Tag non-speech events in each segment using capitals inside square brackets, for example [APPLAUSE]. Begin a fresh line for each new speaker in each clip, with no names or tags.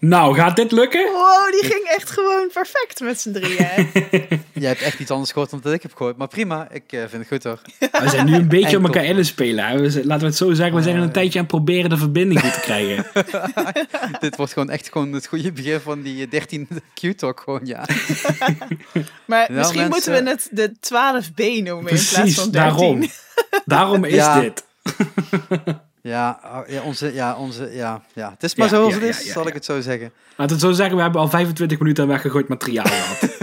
Nou, gaat dit
[LAUGHS]
lukken?
Wow, die ging echt gewoon perfect met z'n
[LAUGHS]
drieën. hè?
Jij hebt echt iets anders gehoord dan dat ik heb gehoord. Maar prima, ik eh, vind het goed
[LAUGHS]
hoor.
We zijn nu een beetje
Enkel.
om elkaar in te spelen. hè. We zijn- laten we het zo zeggen, we zijn al een
Ah, ja.
tijdje aan het proberen de verbinding goed te
[LAUGHS]
krijgen.
Dit wordt gewoon echt gewoon het goede begin van die eh, 13 [LAUGHS] Q-talk gewoon, ja.
Maar
Ja,
misschien
mensen-
moeten we het de 12B noemen in
[LAUGHS]
plaats
Precies,
van 13.
daarom. Daarom is
[LAUGHS] Ja.
dit.
Ja, oh, ja, onze, ja, onze, ja, ja. Het is maar
Ja,
zoals
ja,
het is,
ja, ja,
zal
ja.
ik het zo zeggen.
Laten we het zo zeggen, we hebben al 25 minuten aan weggegooid materiaal
[LAUGHS]
gehad.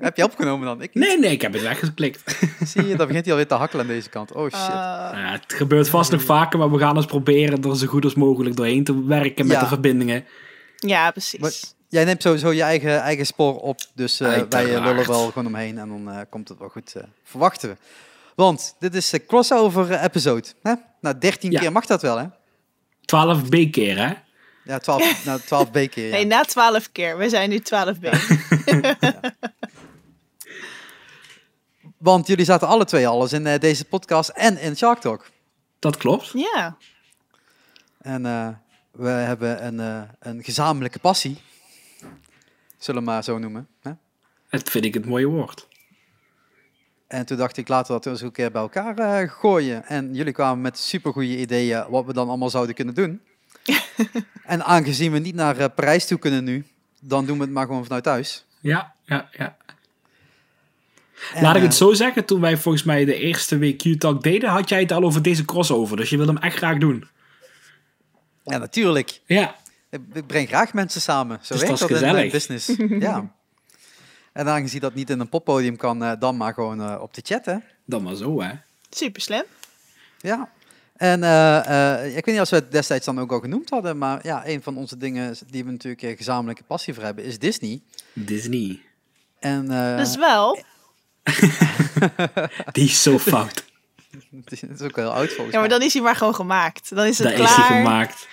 Heb je opgenomen dan? Ik
Nee, nee, ik heb het weggeplikt.
zie je, dan begint hij alweer te hakkelen aan deze kant. Oh shit.
Ah,
Nou ja, het gebeurt vast nog vaker, maar we gaan eens proberen er zo goed als mogelijk doorheen te werken met
Ja.
de verbindingen.
ja, precies.
Wat- Jij neemt sowieso je eigen, eigen spoor op, dus eh, wij eh, lullen
Uiteraard.
wel gewoon omheen en dan eh, komt het wel goed, eh, verwachten we. Want dit is de crossover eh, episode. Hè? Nou, 13
Ja.
keer mag dat wel, hè?
12 B-keer, hè? [LAUGHS]
Ja, 12, nou, 12 B keer. Ja.
Nee, na 12 keer. We zijn nu 12B.
Want jullie zaten alle twee alles in eh, deze podcast en in Shark Talk.
Dat klopt.
Ja.
En eh, we hebben een, eh, een gezamenlijke passie. Zullen we maar zo noemen. Hè?
Dat vind ik het mooie woord.
En toen dacht ik, laten we dat eens een keer bij elkaar eh, gooien. En jullie kwamen met supergoeie ideeën wat we dan allemaal zouden kunnen doen. en aangezien we niet naar eh, Parijs toe kunnen nu, dan doen we het maar gewoon vanuit thuis.
Ja, ja, ja.
En,
Laat ik het
eh,
zo zeggen, toen wij volgens mij de eerste week Q-Talk deden, had jij het al over deze crossover. Dus je wilde hem echt graag doen.
Ja, natuurlijk.
Ja,
Ik, ik breng graag mensen samen. Zo
Dus
werkt
dat
dat
is
in mijn
gezellig.
business.
[LAUGHS]
ja. En aangezien dat niet in een poppodium kan, eh, dan maar gewoon eh, op de chat, hè.
dan maar zo, hè?
Super slim.
Ja. En eh, eh, ik weet niet of we het destijds dan ook al genoemd hadden, maar ja, een van onze dingen die we natuurlijk een gezamenlijke passie voor hebben, is Disney.
Disney.
En, eh,
Dus wel.
Die is zo fout.
[LAUGHS] Het is ook heel oud volgens
Ja, maar
mij.
dan is hij maar gewoon gemaakt. Dan is het
Daar is
klaar.
die gemaakt.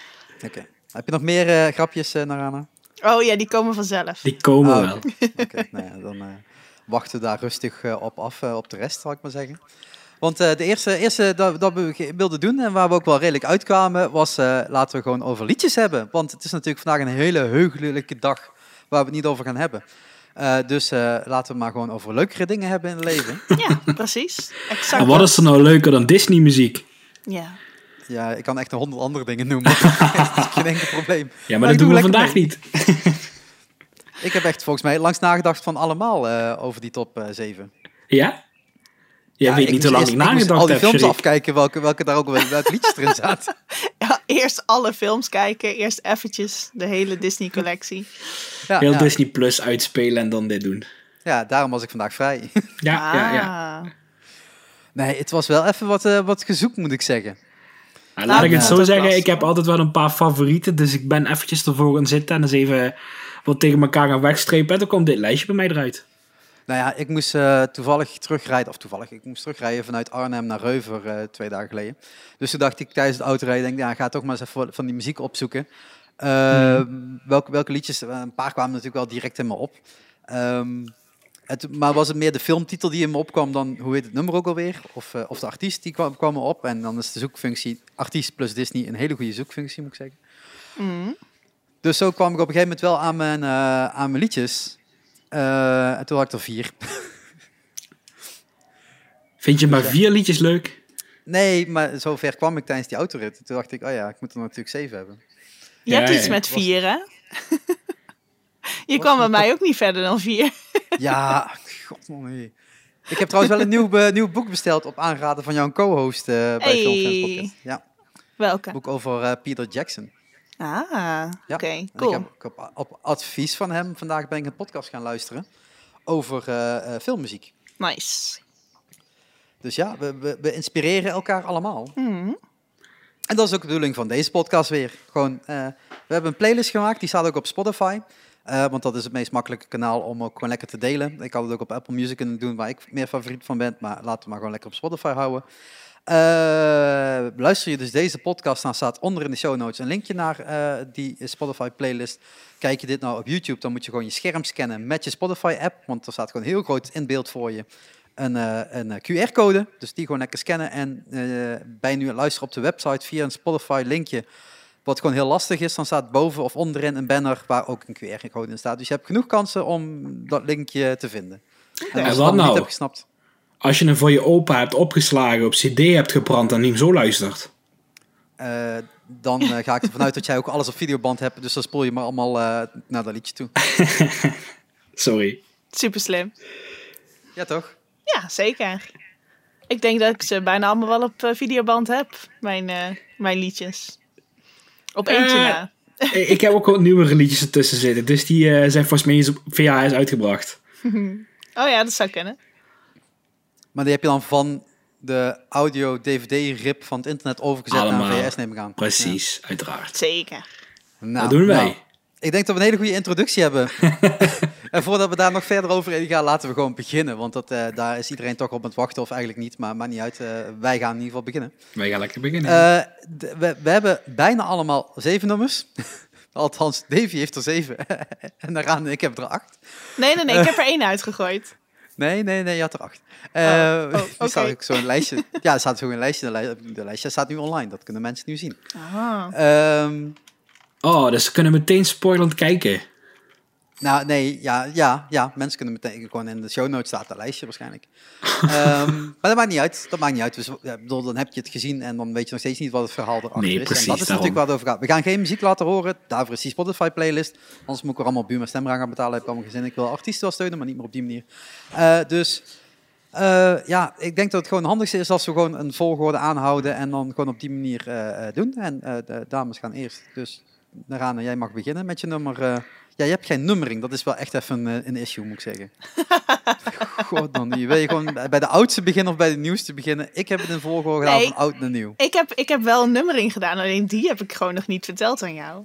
Oké. Heb je nog meer eh, grapjes, eh Narana?
Oh ja, die komen
[LAUGHS]
vanzelf.
Die komen
Ah,
wel.
Oké, nou ja, dan eh, wachten we daar rustig eh, op af, eh, op de rest, zal ik maar zeggen. Want eh, de eerste, eerste dat, dat we ge- wilden doen en waar we ook wel redelijk uitkwamen, was eh, laten we gewoon over liedjes hebben. Want het is natuurlijk vandaag een hele heugelijke dag waar we het niet over gaan hebben. Eh, dus eh, laten we maar gewoon over leukere dingen hebben in het leven.
Ja, precies. Exact.
En wat
dat.
is er nou leuker dan Disney-muziek?
Ja. [LAUGHS]
ja, ik kan echt nog honderd andere dingen noemen. [LAUGHS] dat is geen enkel probleem.
Ja, maar
Maar
dat
ik
doen
doe
we
lekker
vandaag
mee.
niet.
Ik heb echt volgens mij langs nagedacht van allemaal eh, over die top eh 7.
Ja? Jij weet
ik
niet
moest
hoe lang
eerst-
ik
moest al
nagedacht
die
heb,
films
Sherry.
afkijken welke, welke daar ook wel welke liedjes erin
[LAUGHS]
zaten.
ja. Eerst alle films kijken. Eerst eventjes de hele Disney-collectie.
Ja,
Heel dus-
ja.
Disney Plus uitspelen en dan dit doen.
Ja, daarom was ik vandaag
[LAUGHS]
vrij.
Ja, ja, ja.
Ah.
Nee, het was wel even wat, eh, wat gezoek, moet ik zeggen.
Nou, laat ik het
Ja,
zo
dat
zeggen,
was-
ik heb altijd wel een paar favorieten, dus ik ben eventjes ervoor gaan zitten en eens even wat tegen elkaar gaan wegstrepen. En dan komt dit lijstje bij mij eruit.
Nou ja, ik moest eh, toevallig terugrijden, of toevallig, ik moest terugrijden vanuit Arnhem naar Reuver eh, twee dagen geleden. Dus toen dacht ik tijdens het autorijden, denk, ik, ja, ga toch maar eens even wat van die muziek opzoeken. Eh, welke, welke liedjes, eh, een paar kwamen natuurlijk wel direct in me op. Ehm, het, maar was het meer de filmtitel die in me opkwam dan, hoe heet het nummer ook alweer? Of, eh, of de artiest, die kwam, kwam me op. En dan is de zoekfunctie, artiest plus Disney, een hele goede zoekfunctie, moet ik zeggen.
Mm.
Dus zo kwam ik op een gegeven moment wel aan mijn, eh, aan mijn liedjes. Eh, en toen had ik er vier.
Vind je maar vier liedjes leuk?
Nee, maar zover kwam ik tijdens die autorit. Toen dacht ik, oh ja, ik moet er natuurlijk zeven hebben.
Je
Ja,
hebt
ja,
iets
ja.
met
Was- [LAUGHS]
vier, hè? Je kwam bij mij ook niet verder dan vier. [LAUGHS]
ja, god man, nee. Ik heb trouwens wel een nieuw, eh, nieuw boek besteld op aanraden van jouw co-host eh, bij
Hey.
Filmfans Podcast. Ja,
Welke?
een boek over eh, Peter Jackson.
Ah, oké,
Ja. En
cool.
Ik heb, ik heb op, advies van hem vandaag ben ik een podcast gaan luisteren over eh, eh, filmmuziek.
Nice.
Dus ja, we, we, we inspireren elkaar allemaal.
Mhm.
En dat is ook de bedoeling van deze podcast weer. Gewoon, eh, we hebben een playlist gemaakt, die staat ook op Spotify. eh, want dat is het meest makkelijke kanaal om ook gewoon lekker te delen. Ik had het ook op Apple Music kunnen doen, waar ik meer favoriet van ben. Maar laten we maar gewoon lekker op Spotify houden. Eh, luister je dus deze podcast, dan staat onder in de show notes een linkje naar eh, die Spotify playlist. Kijk je dit nou op YouTube, dan moet je gewoon je scherm scannen met je Spotify app. Want er staat gewoon heel groot in beeld voor je een, eh, een QR-code. Dus die gewoon lekker scannen. En eh, bij nu luisteren op de website via een Spotify linkje. Wat gewoon heel lastig is, dan staat boven of onderin een banner waar ook een QR-code in staat. Dus je hebt genoeg kansen om dat linkje te vinden. En als
wat
je dat
nou?
niet hebt gesnapt.
Als je hem voor je opa hebt opgeslagen, op CD hebt gebrand en die hem zo luistert.
eh, dan eh, ga ik ervan uit dat jij ook alles op videoband hebt. Dus dan spoel je maar allemaal eh, naar dat liedje toe.
Sorry. [LAUGHS]
Super slim.
Ja, toch?
Ja, zeker. Ik denk dat ik ze bijna allemaal wel op eh, videoband heb, mijn, eh, mijn liedjes. Op eentje
Eh.
na.
Eh, ik heb ook wat nieuwere liedjes ertussen zitten. Dus die eh, zijn volgens mij eens op VHS uitgebracht.
Oh ja, dat zou kunnen.
Maar die heb je dan van de audio-dvd-rip van het internet overgezet naar
Allemaal.
VS, neem ik aan.
Precies, uiteraard.
Zeker.
Ja.
dat
Nou,
doen wij.
nou, ik denk dat we een hele goede introductie
[LAUGHS]
hebben. en voordat we daar nog verder over gaan, laten we gewoon beginnen. Want dat, eh, daar is iedereen toch op aan het wachten, of eigenlijk niet. Maar maakt niet uit. Eh, wij gaan in ieder geval beginnen.
Wij gaan lekker beginnen.
Eh, d- we, we hebben bijna allemaal zeven nummers. [LAUGHS] Althans, Davy heeft er zeven. [LAUGHS] en daaraan, ik heb er acht.
Nee, nee, nee, ik heb
[LAUGHS]
er één uitgegooid.
Nee, nee, nee, je had er acht. Eh
Oh, oh,
die [LAUGHS] staat
oké.
ook
[LAUGHS]
zo in een lijstje. Ja, er staat zo in een lijstje. De, lij- de lijstje staat nu online. Dat kunnen mensen nu zien.
Ah.
Ehm,
Oh, dus ze kunnen meteen spoilend kijken.
nou, nee, ja, ja, ja. Mensen kunnen meteen gewoon in de show notes staat dat lijstje waarschijnlijk.
[LAUGHS]
Ehm, maar dat maakt niet uit. Dat maakt niet uit. Dus, ja, ik bedoel, dan heb je het gezien en dan weet je nog steeds niet wat het verhaal erachter
Nee,
is.
precies,
en dat is natuurlijk waar
daarom.
het over gaat. We gaan geen muziek laten horen. Daarvoor is die Spotify playlist. Anders moet ik er allemaal buurman stemra gaan betalen. Heb ik allemaal gezin. Ik wil artiesten wel steunen, maar niet meer op die manier. Eh, dus eh, ja, ik denk dat het gewoon het handigste is als we gewoon een volgorde aanhouden en dan gewoon op die manier eh, eh, doen. En eh, de dames gaan eerst. Dus Narana, jij mag beginnen met je nummer. eh. ja, je hebt geen nummering. Dat is wel echt even eh, een issue, moet ik zeggen. God, dan niet. Wil je gewoon bij bij de oudste beginnen of bij de nieuwste beginnen? Ik heb het in volgorde gedaan
Nee.
van oud naar nieuw.
Ik heb, ik heb wel een nummering gedaan, alleen die heb ik gewoon nog niet verteld aan jou.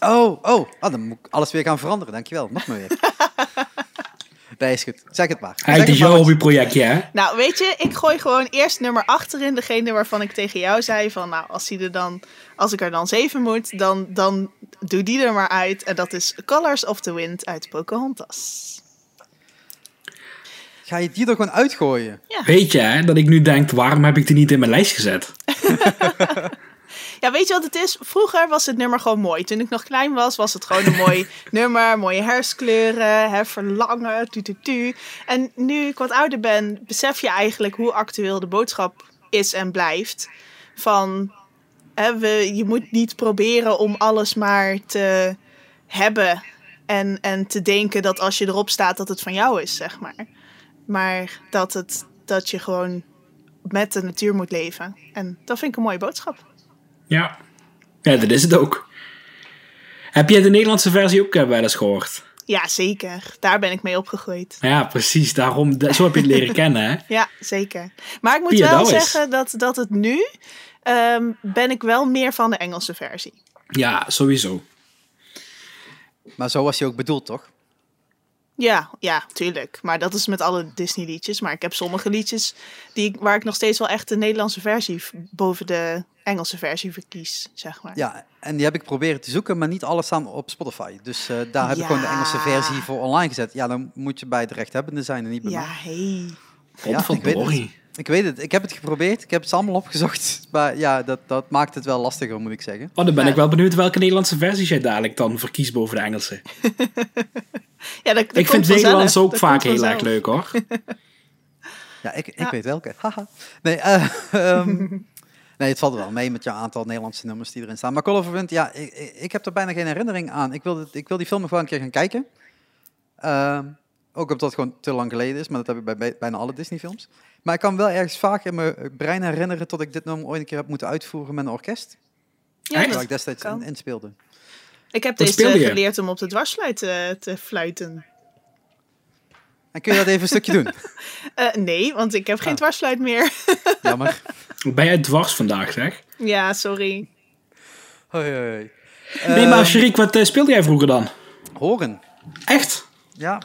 Oh, oh, ah, dan moet ik alles weer gaan veranderen. Dankjewel, nog maar weer. Nee, is goed. Zeg het maar. Zeg
Eigenlijk
het
is jouw
maar.
hobbyprojectje, hè?
Nou, weet je, ik gooi gewoon eerst nummer achterin. Degene waarvan ik tegen jou zei van, nou, als, die er dan, als ik er dan zeven moet, dan, dan doe die er maar uit. En dat is Colors of the Wind uit Pocahontas.
Ga je die er gewoon uitgooien?
Weet je, hè, dat ik nu denk, waarom heb ik die niet in mijn lijst gezet?
Ja, weet je wat het is? Vroeger was het nummer gewoon mooi. Toen ik nog klein was, was het gewoon een [LAUGHS] mooi nummer. Mooie herfstkleuren, hè, verlangen, tu, tu, tu. En nu ik wat ouder ben, besef je eigenlijk hoe actueel de boodschap is en blijft. Van, hè, we, je moet niet proberen om alles maar te hebben. En, en te denken dat als je erop staat, dat het van jou is, zeg maar. Maar dat, het, dat je gewoon met de natuur moet leven. En dat vind ik een mooie boodschap.
Ja. Ja, dat is het ook. Heb jij de Nederlandse versie ook eh, wel eens gehoord?
Ja, zeker. Daar ben ik mee opgegroeid.
Ja, precies. Daarom, da- zo heb je het leren kennen, hè?
Ja, zeker. Maar ik moet
Pia
wel
Douwes.
zeggen dat, dat het nu... ehm, ben ik wel meer van de Engelse versie.
Ja, sowieso.
Maar zo was je ook bedoeld, toch?
Ja, ja, tuurlijk. Maar dat is met alle Disney-liedjes. Maar ik heb sommige liedjes die, ik- waar ik nog steeds wel echt de Nederlandse versie v- boven de Engelse versie verkies, zeg maar.
Ja, en die heb ik proberen te zoeken, maar niet alles staan op Spotify. Dus eh, daar heb ik gewoon de
Ja.
Engelse versie voor online gezet. Ja, dan moet je bij de rechthebbenden zijn en niet bij
Ja,
mij.
hey.
Ja, ik weet het.
Potverdorie.
Ik weet het, ik heb het geprobeerd, ik heb het allemaal opgezocht. [LAUGHS] Maar ja, dat, dat maakt het wel lastiger, moet ik zeggen.
Oh, dan ben ik wel benieuwd welke Nederlandse versies jij dadelijk dan verkiest boven de Engelse.
Ja, dat, dat
ik vind
komt
de Nederlandse
vanzelf.
ook
Dat
vaak
komt
heel erg
vanzelf.
leuk, hoor.
Ja, ik, ik
Ja.
weet welke. Haha. Nee, eh, [LAUGHS] ehm, nee, het valt wel mee met jouw aantal Nederlandse nummers die erin staan. Maar Call of Wind, ja, ik, ik- ik heb er bijna geen herinnering aan. Ik wil, dit- ik wil die film nog wel een keer gaan kijken. Ehm, ook omdat het gewoon te lang geleden is, maar dat heb ik bij, bij- bijna alle Disney-films. Maar ik kan wel ergens vaak in mijn brein herinneren dat ik dit nummer ooit een keer heb moeten uitvoeren met een orkest.
Ja,
Echt?
Waar
dat-
ik destijds
kan.
in, in speelde.
ik heb
Wat speelde
deze
je?
geleerd om op de dwarsfluit eh, te fluiten.
En kun je dat even een stukje [LAUGHS] doen?
Eh, nee, want ik heb geen
Ah.
dwarsfluit meer. [LAUGHS]
Jammer.
Ben jij dwars vandaag, zeg?
ja, sorry.
Hoi, hoi, hoi.
nee, maar
Ehm,
Sherik, wat eh, speelde jij vroeger dan?
Horen.
Echt?
Ja,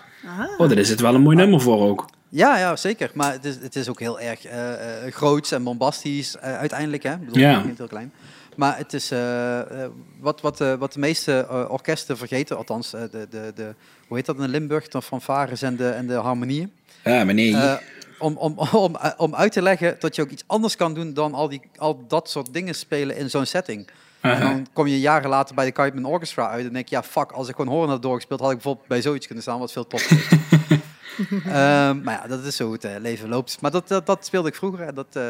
Oh, daar is het wel een mooi nummer voor ook.
Ja, ja, zeker. Maar het is, het is ook heel erg eh, eh, groots en bombastisch eh, uiteindelijk. Hè? Ik bedoel,
Ja.
het begint heel klein. Maar het is eh, eh, wat, wat, eh, wat de meeste eh, orkesten vergeten, althans eh, de, de, de, hoe heet dat in Limburg, de fanfares en de, en de harmonieën.
Ja, meneer.
Eh, om, om, om, eh, om uit te leggen dat je ook iets anders kan doen dan al, die, al dat soort dingen spelen in zo'n setting. En dan kom je jaren later bij de Kiteman Orchestra uit en denk je, ja, fuck, als ik gewoon horen had doorgespeeld, had ik bijvoorbeeld bij zoiets kunnen staan, wat veel top is. Ehm, maar ja, dat is zo hoe het eh, leven loopt. Maar dat, dat, dat speelde ik vroeger. En dat, eh,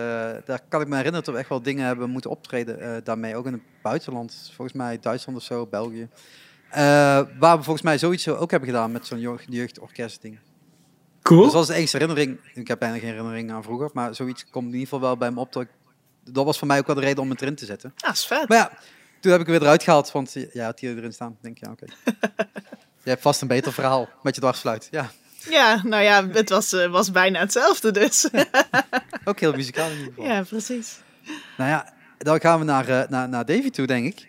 daar kan ik me herinneren dat we echt wel dingen hebben moeten optreden eh, daarmee. Ook in het buitenland. Volgens mij Duitsland of zo, België. Eh, waar we volgens mij zoiets ook hebben gedaan met zo'n jeugd- jeugdorkestding.
Cool.
Dus dat was de enige herinnering. Ik heb eigenlijk geen herinnering aan vroeger. Maar zoiets komt in ieder geval wel bij me op. Dat, ik- dat was voor mij ook wel de reden om het erin te zetten.
Ja, Ah, is vet.
Maar ja, toen heb ik het weer eruit gehaald. Want eh, ja, had hier erin staan. Ik denk
[LAUGHS]
ja, oké. Je hebt vast een beter verhaal met je dwarsfluit. Ja,
Ja, nou ja, het was, eh, was bijna hetzelfde dus.
ook heel muzikaal in ieder geval.
[LAUGHS] ja, precies.
Nou ja, dan gaan we naar, eh, naar, naar Davy toe, denk ik.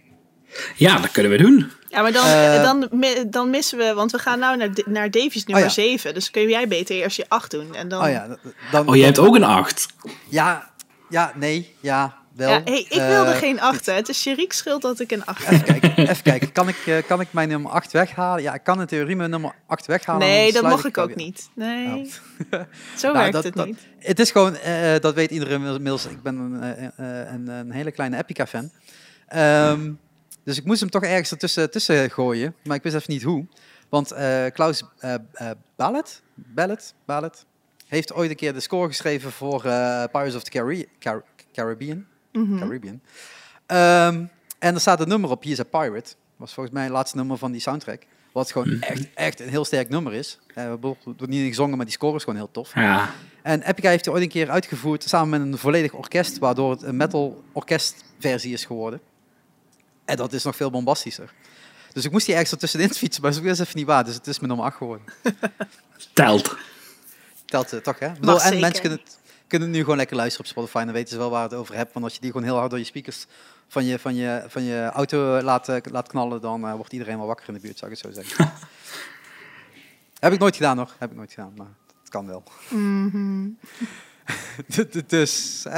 Ja, dat kunnen we doen.
Ja, maar dan,
Eh. Oh
dan, mi- dan missen we, want we gaan nou naar, D- naar Davies nummer
ja.
7. Dus kun jij beter eerst je 8 doen. En dan...
Oh ja, dan,
Oh, jij hebt ook een 8.
Ja, ja, nee, ja, wel.
Ja, hey, ik wilde
Eh,
geen 8. Het is Sherik's schuld dat ik een 8
Even kijken, even kijken. Kan ik, eh, kan ik mijn nummer 8 weghalen? Ja, ik kan in theorie mijn nummer 8 weghalen.
Nee, dat
dan sluit
mag ik
hem
ook
weer. Oh.
niet. Nee,
Ja.
zo
Nou,
werkt
dat-
het
dat-
niet.
Het is gewoon, eh, eh, dat weet iedereen inmiddels. Ik ben een, eh, eh, een, een hele kleine Epica-fan. Ehm, dus ik moest hem toch ergens ertussen tussen gooien. Maar ik wist even niet hoe. Want eh, Klaus eh eh, Ballet, Ballet, Ballet heeft ooit een keer de score geschreven voor eh, Pirates of the Carri- Car- Caribbean.
Mhm.
Caribbean. Ehm, en er staat een nummer op, He's a Pirate. was volgens mij het laatste nummer van die soundtrack. Wat gewoon echt, echt een heel sterk nummer is. Eh, we bedoel, het wordt niet gezongen, maar die score is gewoon heel tof.
Ja.
En Epica heeft die ooit een keer uitgevoerd samen met een volledig orkest, waardoor het een metal orkestversie is geworden. En dat is nog veel bombastischer. Dus ik moest die ergens ertussenin [LAUGHS] fietsen, maar dat is even niet waar. Dus het is mijn nummer 8 geworden.
Telt.
Telt eh, toch, hè? Ik bedoel, en
zeker.
mensen kunnen, het- kunnen nu gewoon lekker luisteren op Spotify. Dan weten ze wel waar het over hebt. Want als je die gewoon heel hard door je speakers van je, van je, van je auto eh, laat, eh, laat knallen, dan eh, wordt iedereen wel wakker in de buurt, zou ik het
[LAUGHS]
zo zeggen. Heb ik nooit gedaan, nog. Heb ik nooit gedaan, maar het kan wel.
Mhm.
[LAUGHS] D- d- dus, eh,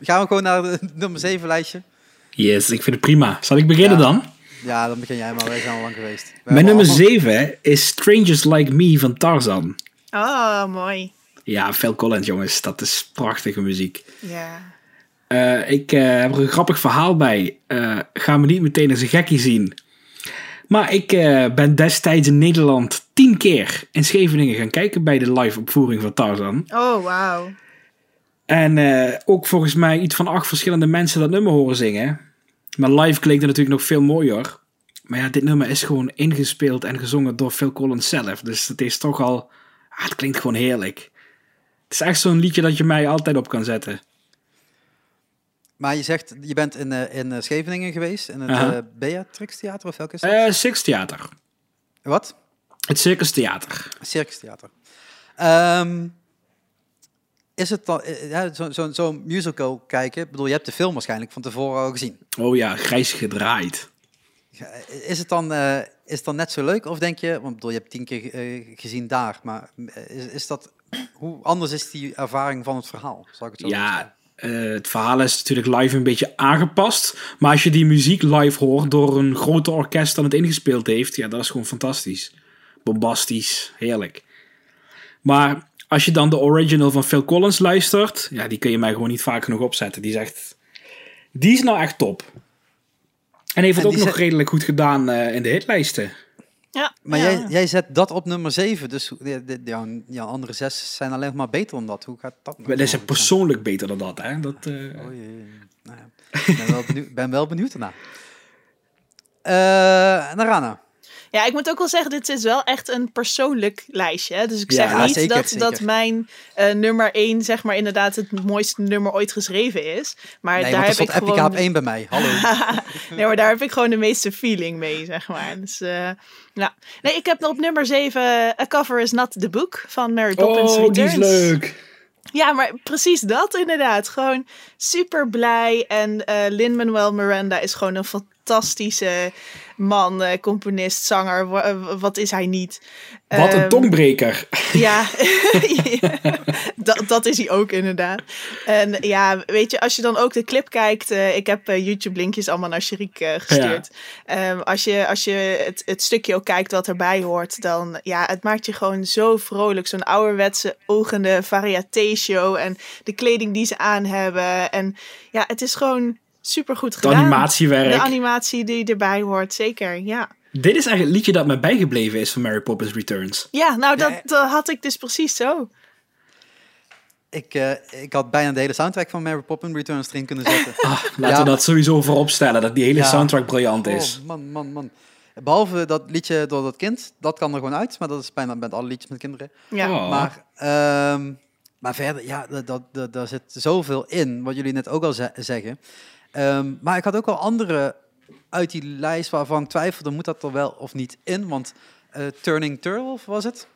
gaan we gewoon naar het [LAUGHS] nummer 7 lijstje?
Yes, ik vind het prima. Zal ik beginnen
Ja.
dan?
Ja, dan begin jij maar, wij zijn al lang geweest. We hebben
Mijn nummer
allemaal-
7 is Strangers Like Me van Tarzan.
Oh, mooi.
Ja, Phil Collins, jongens. Dat is prachtige muziek.
Ja.
Eh, ik eh, heb er een grappig verhaal bij. Eh, ga me niet meteen als een gekkie zien. Maar ik eh, ben destijds in Nederland tien keer in Scheveningen gaan kijken bij de live opvoering van Tarzan.
Oh, wauw.
En eh, ook volgens mij iets van acht verschillende mensen dat nummer horen zingen. Maar live klinkt het natuurlijk nog veel mooier. Maar ja, dit nummer is gewoon ingespeeld en gezongen door Phil Collins zelf. Dus het is toch al... Ah, het klinkt gewoon heerlijk. Het is echt zo'n liedje dat je mij altijd op kan zetten.
Maar je zegt, je bent in, eh, in eh, Scheveningen geweest, in het
Aha.
eh, Beatrix Theater of welke is dat?
Eh Circus Theater.
Wat?
Het Circus Theater.
Circus Theater. Ehm, is het dan, eh, ja, zo'n zo, zo'n musical kijken, ik bedoel, je hebt de film waarschijnlijk van tevoren al gezien.
Oh ja, grijs gedraaid.
Ja, Is het dan, eh, is het dan net zo leuk? Of denk je, want ik bedoel, je hebt tien keer eh, gezien daar, maar eh, is, is dat, hoe anders is die ervaring van het verhaal? Zal ik het zo zeggen?
Ja, eh, het verhaal is natuurlijk live een beetje aangepast. Maar als je die muziek live hoort door een groter orkest dat het ingespeeld heeft, ja, dat is gewoon fantastisch. Bombastisch, heerlijk. Maar als je dan de original van Phil Collins luistert, ja, die kun je mij gewoon niet vaak genoeg opzetten. Die is echt, die is nou echt top. En heeft het
En
ook
die
nog
zet-
redelijk goed gedaan eh, in de hitlijsten.
Ja,
Maar
ja.
jij, jij zet dat op nummer 7, dus hoe- de- de- jouw, jouw andere zes zijn alleen nog maar beter dan dat. Hoe gaat dat?
Maar
nou
Dat is
mogelijk
persoonlijk beter dan dat, hè? Dat, eh,
zijn? Oei, oei, oei. Nou [LAUGHS] ja, ik ben wel benieuwd, ben wel benieuwd daarna. Eh Narana.
Ja, ik moet ook wel zeggen, dit is wel echt een persoonlijk lijstje. hè. Dus ik
Ja,
zeg niet
nou, zeker,
dat,
zeker.
dat mijn eh, nummer 1, zeg maar, inderdaad het mooiste nummer ooit geschreven is. Maar daar
Nee, want er
heb
stond
ik
Epica
gewoon...
op 1 bij mij. Hallo.
nee, maar daar heb ik gewoon de meeste feeling mee, zeg maar. Dus, eh, ja. Nee, ik heb op nummer 7 A Cover Is Not The Book van Mary Poppins
oh,
Returns.
die is leuk.
Ja, maar precies dat inderdaad. Gewoon super blij. En eh Lin-Manuel Miranda is gewoon een fantastische man, eh, componist, zanger. Wa- eh, wat is hij niet?
Wat een
Ehm,
tongbreker.
ja, [LAUGHS] dat, dat is hij ook inderdaad. En ja, weet je, als je dan ook de clip kijkt. eh, ik heb YouTube-linkjes allemaal naar Sherik eh, gestuurd. Ehm, als je, als je het, het stukje ook kijkt wat erbij hoort, dan ja, het maakt je gewoon zo vrolijk. Zo'n ouderwetse ogende variaté-show en de kleding die ze aan hebben. En ja, het is gewoon super goed
Het
gedaan.
animatiewerk.
De animatie die erbij hoort, zeker. Ja,
Dit is eigenlijk het liedje dat mij bijgebleven is van Mary Poppins Returns.
ja nou dat,
Nee.
dat had ik dus precies zo.
[LAUGHS] Ik, eh, ik had bijna de hele soundtrack van Mary Poppins Returns erin kunnen [LAUGHS] zetten.
Ah, laten
Ja.
we dat sowieso voorop stellen, dat die hele
Ja.
soundtrack briljant is.
Oh, man, man, man. Behalve dat liedje door dat kind, dat kan er gewoon uit, maar dat is bijna met alle liedjes met kinderen.
Ja.
Oh.
Maar, ehm, maar verder, ja, da- da- da- daar zit zoveel in, wat jullie net ook al ze- zeggen. Ehm, maar ik had ook al andere uit die lijst waarvan ik twijfelde, moet dat er wel of niet in? Want eh, Turning Turtle was het?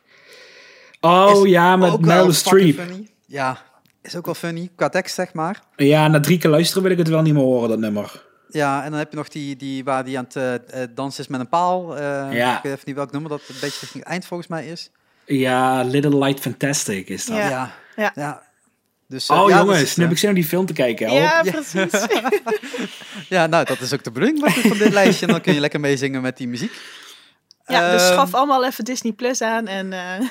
Oh
Is
ja, met
Ook wel
Meryl
fucking
Streep.
funny. Ja, is ook wel funny, qua tekst zeg maar.
Ja, na drie keer luisteren wil ik het wel niet meer horen, dat nummer.
Ja, en dan heb je nog die, die waar die aan het eh, eh, dansen is met een paal. eh,
Ja.
Ik weet even niet welk nummer dat een beetje richting het eind volgens mij is.
Ja, Little Light Fantastic is dat.
Ja.
ja.
Ja.
ja. Dus, eh,
Oh
ja, dat
jongens, nu
is, eh,
heb ik zin om die film te kijken. Oh, help. [LAUGHS]
Ja,
Ja.
precies.
Ja, nou, dat is ook de bedoeling wat ik van dit lijstje. En dan kun je lekker meezingen met die muziek.
Ja, dus
Ehm,
schaf allemaal even Disney Plus aan en eh,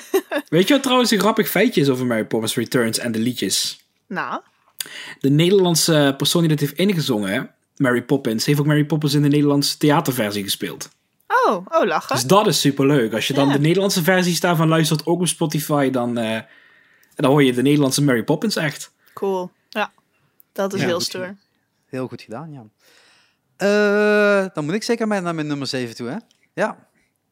Weet je wat trouwens een grappig feitje is over Mary Poppins Returns en de liedjes?
nou,
De Nederlandse persoon die dit heeft ingezongen, Mary Poppins, heeft ook Mary Poppins in de Nederlandse theaterversie gespeeld.
oh, oh lachen.
Dus dat is superleuk. Als je dan
Ja.
de Nederlandse versies daarvan luistert, ook op Spotify, dan, eh, dan hoor je de Nederlandse Mary Poppins echt.
Cool. Ja, dat is
Ja,
heel
goed.
stoer.
Heel goed gedaan, ja. Eh, dan moet ik zeker mijn- naar mijn nummer 7 toe, hè? Ja,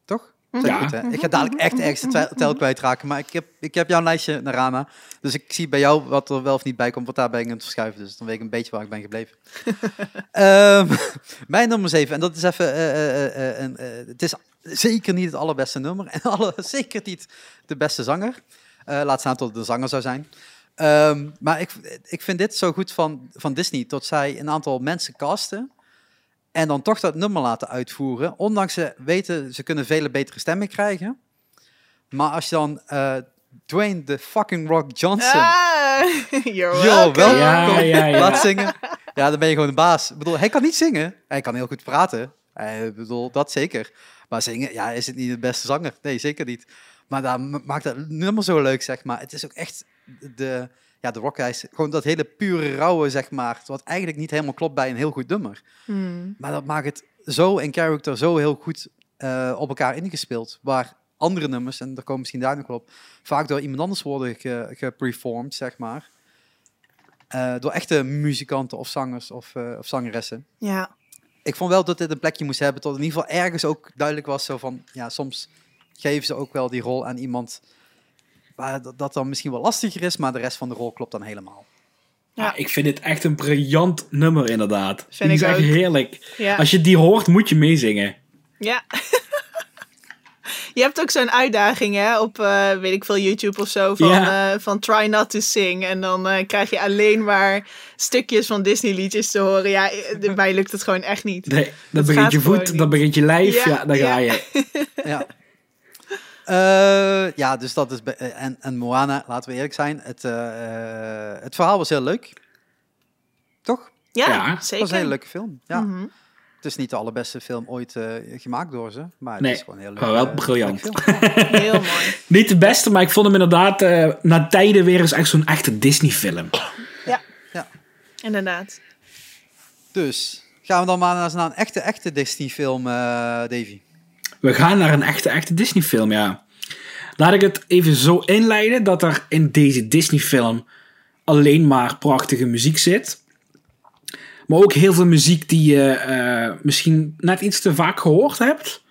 toch?
Mm.
Zeg ik
Ja.
goed, hè? Ik ga dadelijk echt ergens de twi- tel kwijtraken. Maar ik heb, ik heb jouw lijstje, Narana. Dus ik zie bij jou wat er wel of niet bij komt. Want daar ben ik aan het verschuiven. Dus dan weet ik een beetje waar ik ben gebleven. Ehm, mijn nummer 7. En dat is even... eh, eh, eh, eh, een, eh, het is zeker niet het allerbeste nummer. En alle, [LAUGHS] zeker niet de beste zanger. Eh, laat staan tot het een zanger zou zijn. Ehm, maar ik, ik vind dit zo goed van, van Disney. Dat zij een aantal mensen casten. En dan toch dat nummer laten uitvoeren. Ondanks ze weten, ze kunnen vele betere stemmen krijgen. Maar als je dan eh, Dwayne de fucking Rock Johnson...
Ah, [LAUGHS] you're
Yo,
welcome.
welkom.
Ja, ja, ja.
Laat zingen. Ja, dan ben je gewoon de baas. Ik bedoel, hij kan niet zingen. Hij kan heel goed praten. Eh, Ik bedoel, dat zeker. Maar zingen, ja, is het niet de beste zanger? Nee, zeker niet. Maar dat ma- maakt dat nummer zo leuk, zeg maar. Het is ook echt de... Ja, de rock is gewoon dat hele pure rauwe, zeg maar. Wat eigenlijk niet helemaal klopt bij een heel goed nummer.
Hmm.
Maar dat maakt het zo in character zo heel goed eh, op elkaar ingespeeld. Waar andere nummers, en daar komen we misschien daar nog wel op, vaak door iemand anders worden ge- geperformed, zeg maar. Eh, door echte muzikanten of zangers of, eh, of zangeressen.
Ja,
Ik vond wel dat dit een plekje moest hebben, tot in ieder geval ergens ook duidelijk was zo van, ja, soms geven ze ook wel die rol aan iemand waar dat, dat dan misschien wel lastiger is, maar de rest van de rol klopt dan helemaal.
Ja.
Ja, ik vind dit echt een briljant nummer inderdaad.
Vind
die is
ik
echt
ook.
heerlijk.
ja.
Als je die hoort, moet je meezingen.
Ja. [LAUGHS] Je hebt ook zo'n uitdaging hè, op, eh, weet ik veel, YouTube of zo, van,
Ja.
eh, van try not to sing. En dan eh, krijg je alleen maar stukjes van Disney liedjes te horen. Ja, eh, mij lukt het gewoon echt niet.
Nee, dan
gaat
begint je
gewoon
voet,
niet.
dan begint je lijf,
Ja,
ja, dan ga
ja.
je. [LAUGHS]
ja. Eh, ja, dus dat is. be- eh, En, en Moana, laten we eerlijk zijn. Het, eh, eh, het verhaal was heel leuk. Toch?
Ja,
Ja, dat was
Het
zeker.
was een hele leuke film. Ja.
Mhm.
Het is niet de allerbeste film ooit eh, gemaakt door ze. Maar het
Nee,
is gewoon heel leuk.
maar wel
eh,
briljant.
leuk film.
Heel mooi.
Niet de beste, maar ik vond hem inderdaad eh, na tijden weer eens echt zo'n echte Disney-film.
Inderdaad.
dus gaan we dan maar naar, naar een echte, echte Disney-film, eh, Davy.
We gaan naar een echte, echte Disney-film, ja. Laat ik het even zo inleiden dat er in deze Disney-film alleen maar prachtige muziek zit. Maar ook heel veel muziek die je eh, misschien net iets te vaak gehoord hebt.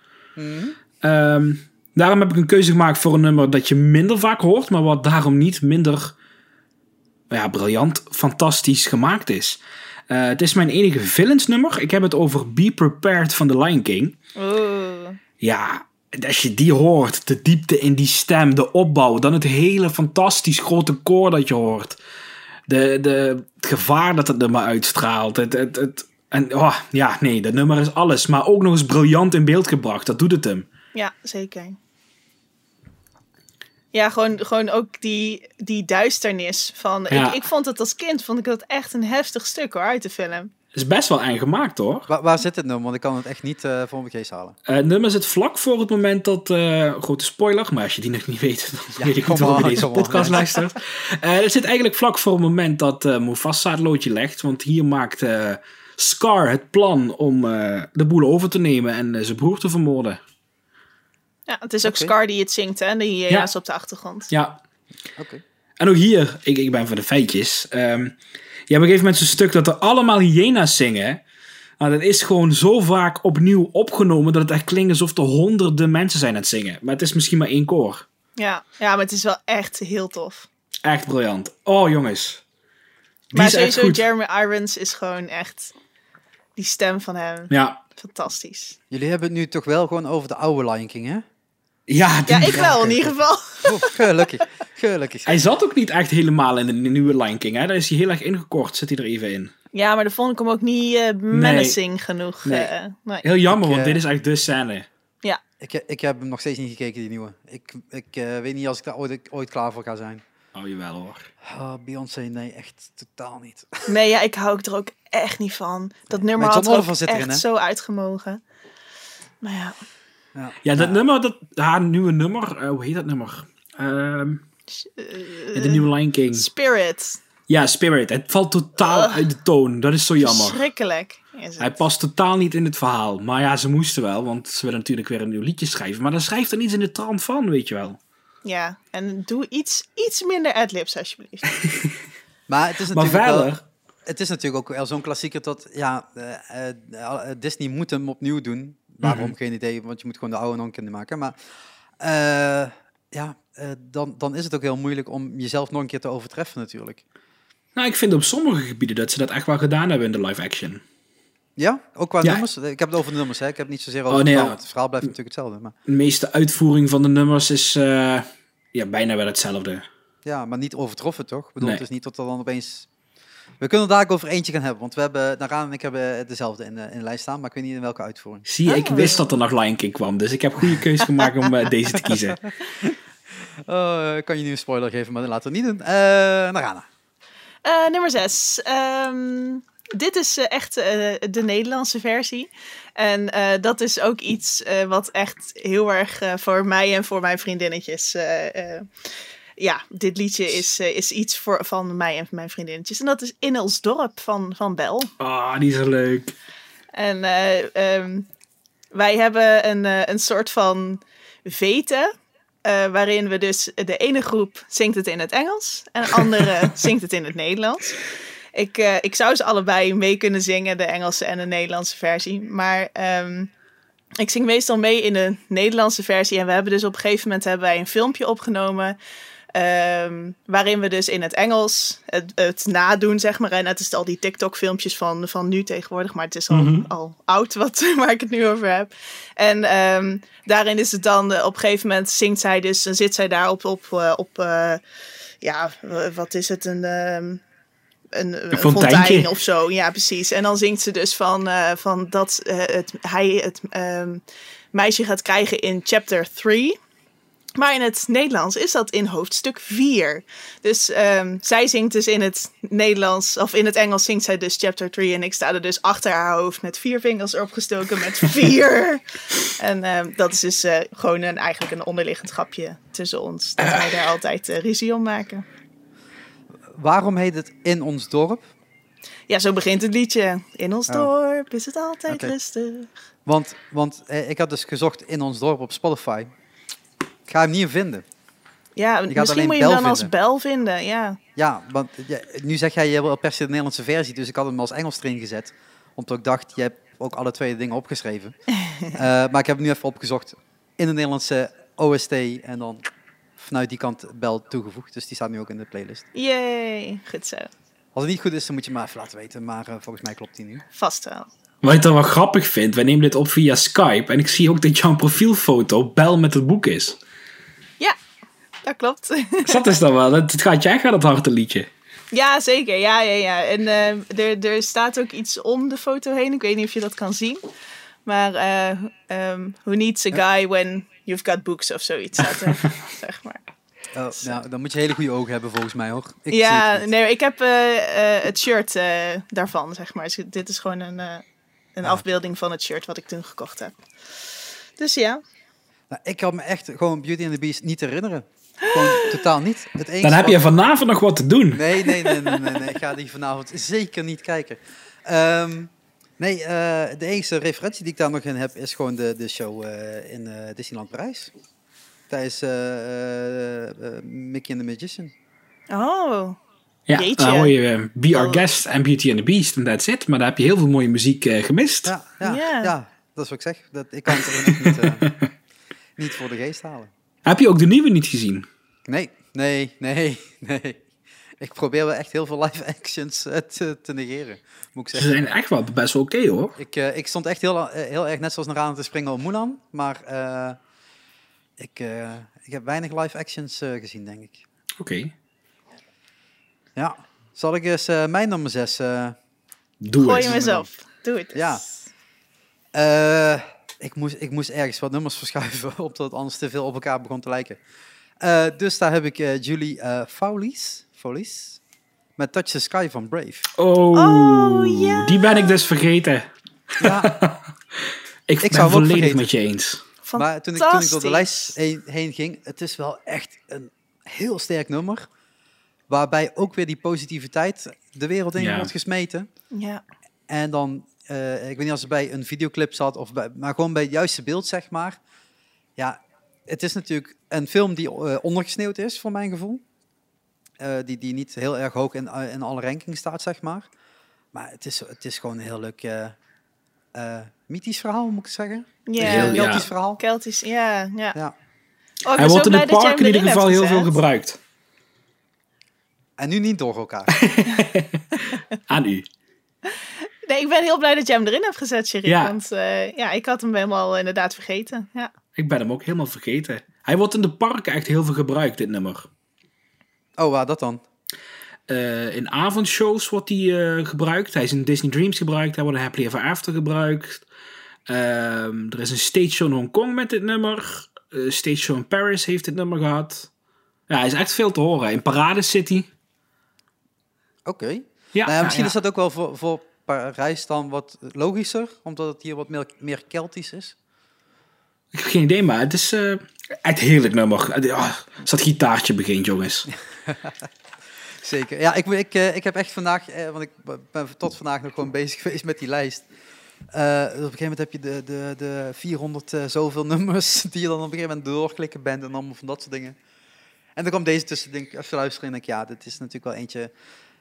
Ehm, daarom heb ik een keuze gemaakt voor een nummer dat je minder vaak hoort, maar wat daarom niet minder ja, briljant, fantastisch gemaakt is. Eh, het is mijn enige villains-nummer. Ik heb het over Be Prepared van The Lion King.
Oeh.
Ja, en als je die hoort, de diepte in die stem, de opbouw, dan het hele fantastisch grote koor dat je hoort. De, de, het gevaar dat het nummer uitstraalt. Het, het, het, en oh, ja, nee, dat nummer is alles. Maar ook nog eens briljant in beeld gebracht. Dat doet het hem.
Ja, zeker. Ja, gewoon, gewoon ook die, die duisternis van...
Ja.
Ik, ik vond het als kind, vond ik dat echt een heftig stuk hoor, uit de film.
Is best wel eng gemaakt hoor.
Waar, waar zit het nummer? Want ik kan het echt niet eh voor mijn geest halen.
Eh, het nummer zit vlak voor het moment dat. eh, grote spoiler, maar als je die nog niet weet, [LAUGHS] dan
Ja,
weet ik niet
come
waarom je
on,
deze
come on.
podcast luistert. Eh, het zit eigenlijk vlak voor het moment dat eh Mufasa het loodje legt. Want hier maakt eh Scar het plan om eh, de boel over te nemen en eh, zijn broer te vermoorden.
Ja, het is ook
Oké.
Scar die het zingt, hè? Die eh,
Ja.
ja. is op de achtergrond.
Ja,
Oké.
En ook hier, ik, ik ben voor de feitjes. Ehm, je hebt op een gegeven moment zo'n stuk dat er allemaal hyena's zingen. Nou, dat is gewoon zo vaak opnieuw opgenomen dat het echt klinkt alsof er honderden mensen zijn aan het zingen. Maar het is misschien maar één koor.
Ja, ja maar het is wel echt heel tof.
Echt briljant. Oh, jongens. Die
maar
is echt
sowieso,
goed.
Jeremy Irons is gewoon echt... Die stem van hem,
Ja.
fantastisch.
Jullie hebben het nu toch wel gewoon over de oude Lion King, hè?
Ja, die-
Ja, ik wel in ieder geval.
Oh, gelukkig. [LAUGHS] Gelukkig.
hij zat ook niet echt helemaal in de nieuwe Lion King. Hè? Daar is hij heel erg ingekort, zit hij er even in.
Ja, maar daar vond ik hem ook niet eh menacing genoeg.
Nee.
eh, nee.
Heel jammer,
Ik,
want
eh,
dit is echt de scène.
Ik, eh, ik heb hem nog steeds niet gekeken, die nieuwe. Ik, ik eh, weet niet als ik daar ooit, ooit klaar voor ga zijn.
Oh, jawel hoor.
Ah, Beyoncé, nee, echt totaal niet.
Nee, ja, ik hou ook er ook echt niet van. Dat nummer
Maar John
had er ook
Oliver zit
echt
erin, hè?
zo uitgemogen. Maar ja,
Ja, dat nummer, dat, haar nieuwe nummer, eh, hoe heet dat nummer? Ehm, de nieuwe Lion King.
Spirit.
Ja, Spirit. Het valt totaal uit de toon. Dat is zo jammer.
Schrikkelijk. Is
Hij
het.
past totaal niet in het verhaal. Maar ja, ze moesten wel, want ze willen natuurlijk weer een nieuw liedje schrijven. Maar dan schrijft er iets in de trant van, weet je wel.
Ja, en doe iets, iets minder adlibs alsjeblieft. [LAUGHS]
Maar het is
Maar
natuurlijk wel-
verder,
Het is natuurlijk ook wel zo'n klassieker dat ja, eh, eh, eh, Disney moet hem opnieuw doen. Waarom? Geen idee, want je moet gewoon de oude non kunnen maken. Maar eh, ja, eh, dan, dan is het ook heel moeilijk om jezelf nog een keer te overtreffen natuurlijk.
nou, ik vind op sommige gebieden dat ze dat echt wel gedaan hebben in de live action.
Ja, ook qua
Ja.
nummers. Ik heb het over de nummers, hè. Ik heb het niet zozeer over
Oh, nee,
het verhaal.
ja.
Het verhaal blijft natuurlijk hetzelfde. Maar,
De meeste uitvoering van de nummers is eh, ja, bijna wel hetzelfde.
ja, maar niet overtroffen, toch? Ik bedoel,
Nee.
het is niet dat er dan opeens... We kunnen er daar ook over eentje gaan hebben, want we hebben, Naraan en ik hebben dezelfde in, de- in de lijst staan, maar ik weet niet in welke uitvoering.
Zie, je, ik
Ah.
wist dat er nog Lion King kwam, dus ik heb goede keuze gemaakt om eh, deze te
[LAUGHS]
kiezen.
Eh, ik kan je nu een spoiler geven, maar dat laten we niet doen. Eh Narana.
Eh, nummer 6. dit is eh, echt eh, de Nederlandse versie. En eh, dat is ook iets eh, wat echt heel erg eh, voor mij en voor mijn vriendinnetjes. eh, eh, ja, dit liedje is, eh, is iets voor, van mij en mijn vriendinnetjes. En dat is In ons dorp van, van Bel.
Ah, die is wel leuk.
En eh, ehm, wij hebben een, eh, een soort van vete. eh, waarin we dus de ene groep zingt het in het Engels en de andere zingt het in het Nederlands. Ik, eh, ik zou ze allebei mee kunnen zingen, de Engelse en de Nederlandse versie. Maar ehm, ik zing meestal mee in de Nederlandse versie. En we hebben dus op een gegeven moment hebben wij een filmpje opgenomen. ehm, waarin we dus in het Engels het, het nadoen, zeg maar. En het is al die TikTok-filmpjes van, van nu tegenwoordig, maar het is al, al oud wat, [LAUGHS] waar ik het nu over heb. En ehm, daarin is het dan, eh, op een gegeven moment zingt zij dus, en zit zij daar op, op, eh, op eh, ja, w- wat is het, een... ehm, een, een
fonteintje.
fontein of zo, ja precies. En dan zingt ze dus van, eh, van dat eh, het, hij het ehm, meisje gaat krijgen in chapter 3. Maar in het Nederlands is dat in hoofdstuk 4. Dus ehm, zij zingt dus in het Nederlands, of in het Engels zingt zij dus chapter 3. En ik sta er dus achter haar hoofd met vier vingers opgestoken met vier. en ehm, dat is dus eh, gewoon een, eigenlijk een onderliggend grapje tussen ons. Dat wij daar altijd eh, ruzie om maken.
Waarom heet het In ons dorp?
Ja, zo begint het liedje. In ons
Oh.
dorp is het altijd
Oké.
rustig.
Want, want eh, ik had dus gezocht in ons dorp op Spotify. Ik ga hem niet vinden.
Ja,
gaat
misschien
alleen
moet je
Bel
hem dan als
vinden.
bel vinden, ja.
Ja, want ja, nu zeg jij, je wil per se de Nederlandse versie, dus ik had hem als Engels erin gezet. Omdat ik dacht, je hebt ook alle twee de dingen
[LAUGHS]
opgeschreven. Eh, maar ik heb hem nu even opgezocht in de Nederlandse OST en dan vanuit die kant bel toegevoegd. Dus die staat nu ook in de playlist.
Yay, goed zo.
Als het niet goed is, dan moet je maar even laten weten. Maar eh, volgens mij klopt die nu.
Vast wel.
Wat ik dan wel grappig vind, wij nemen dit op via Skype en ik zie ook dat jouw profielfoto bel met het boek is.
Ja, dat klopt. [LAUGHS]
Dus dat is dan wel, het, het gaat jij gaat het harte liedje.
ja, zeker. Ja, ja, ja. En eh, er, er staat ook iets om de foto heen. Ik weet niet of je dat kan zien. Maar eh, ehm, who needs a guy when you've got books of zoiets. staat
[LAUGHS]
er, zeg maar.
Eh, nou, dan moet je hele goede ogen hebben volgens mij hoor. Ik zie
ja,
het niet.
nee, ik heb eh, eh, het shirt eh, daarvan, zeg maar. Dus dit is gewoon een, eh,
Ah.
een afbeelding van het shirt wat ik toen gekocht heb. Dus ja.
Nou, ik kan me echt gewoon Beauty and the Beast niet herinneren. Gewoon totaal niet. Het enige
Dan heb je
wat-
vanavond nog wat te doen.
Nee, nee, nee, nee, nee, nee. Ik ga die vanavond zeker niet kijken. Ehm, Nee, eh, de enige referentie die ik daar nog in heb is gewoon de, de show eh, in eh, Disneyland Parijs. Tijdens eh, eh, eh, Mickey and the Magician.
Oh,
Ja,
Jeetje.
dan hoor je eh, Be Our
Oh.
Guest en Beauty and the Beast en that's it. Maar daar heb je heel veel mooie muziek eh, gemist.
Ja, ja,
Ja.
ja, dat is wat ik zeg. Dat, ik kan het er nog niet,
[LAUGHS]
eh, niet voor de geest halen.
Heb je ook de nieuwe niet gezien?
Nee, nee, nee, [LAUGHS] nee. Ik probeer wel echt heel veel live actions eh, te, te negeren, moet ik
Ze
zeggen.
zijn echt wel best wel oké hoor.
Ik, eh, ik stond echt heel, eh, heel erg net zoals naar aan te springen op Mulan, maar eh, ik, eh, ik heb weinig live actions eh, gezien, denk ik.
Oké.
Ja. Zal ik eens eh, mijn nummer 6?
Doe
gooi
het.
hem eens op. Doe het. eens.
Ja. Eh, ik, moest, ik moest ergens wat nummers [LAUGHS] verschuiven, omdat het anders te veel op elkaar begon te lijken. Eh, dus daar heb ik eh, Julie eh Foulies, Foulies met Touch the Sky van Brave.
Oh,
Oh, ja.
die ben ik dus vergeten.
Ja,
Ik,
zou
ben
hem ook
volledig
vergeten.
met je eens.
maar toen ik, toen ik door de
Fantastisch.
lijst heen, heen ging, het is wel echt een heel sterk nummer. Waarbij ook weer die positiviteit de wereld in
Ja.
wordt gesmeten.
Ja.
En dan, eh, ik weet niet als het bij een videoclip zat, of bij, maar gewoon bij het juiste beeld, zeg maar. Ja, het is natuurlijk een film die eh, ondergesneeuwd is, voor mijn gevoel. Eh, die, die niet heel erg hoog in, eh, in alle rankings staat, zeg maar. Maar het is, het is gewoon een heel leuk eh, eh, mythisch verhaal, moet ik zeggen.
Ja.
Heel- ja.
Keltisch verhaal.
Keltisch, ja. ja.
Ja.
Oh, ik
Hij
ben zo
wordt in
blij
het
dat jij
park
hem
in ieder
erin
geval
hebt
heel veel
gezet.
gebruikt.
En nu niet door
[LAUGHS]
elkaar.
Aan u.
Nee, ik ben heel blij dat jij hem erin hebt gezet, Sherry.
Ja.
Want eh, ja, ik had hem helemaal inderdaad vergeten. Ja.
Ik ben hem ook helemaal vergeten. Hij wordt in de parken echt heel veel gebruikt, dit nummer.
oh, waar dat dan?
Eh, in avondshows wordt hij eh, gebruikt. Hij is in Disney Dreams gebruikt. Hij wordt in Happily Ever After gebruikt. Ehm, er is een stage show in Hongkong met dit nummer. Eh stage show in Paris heeft dit nummer gehad. Ja, hij is echt veel te horen. In Parade City.
Oké.
Ja,
Nou ja, misschien
ja,
is dat ook wel voor, voor Parijs dan wat logischer, omdat het hier wat meer, meer Keltisch is.
Ik heb geen idee, maar het is eh echt heerlijk nummer. Het- ah, als dat gitaartje begint, jongens.
Zeker. Ja, ik, moet- ik, eh, ik heb echt vandaag, eh, want ik b- ben tot vandaag nog gewoon bezig [LAUGHS] geweest met die lijst. Eh, dus op een gegeven moment heb je de, de, de 400 eh, zoveel nummers [LAUGHS] die je dan op een gegeven moment doorklikken bent en allemaal van dat soort dingen. En dan kwam deze tussen, denk ik, even luisteren en denk ik, ja, dit is natuurlijk wel eentje.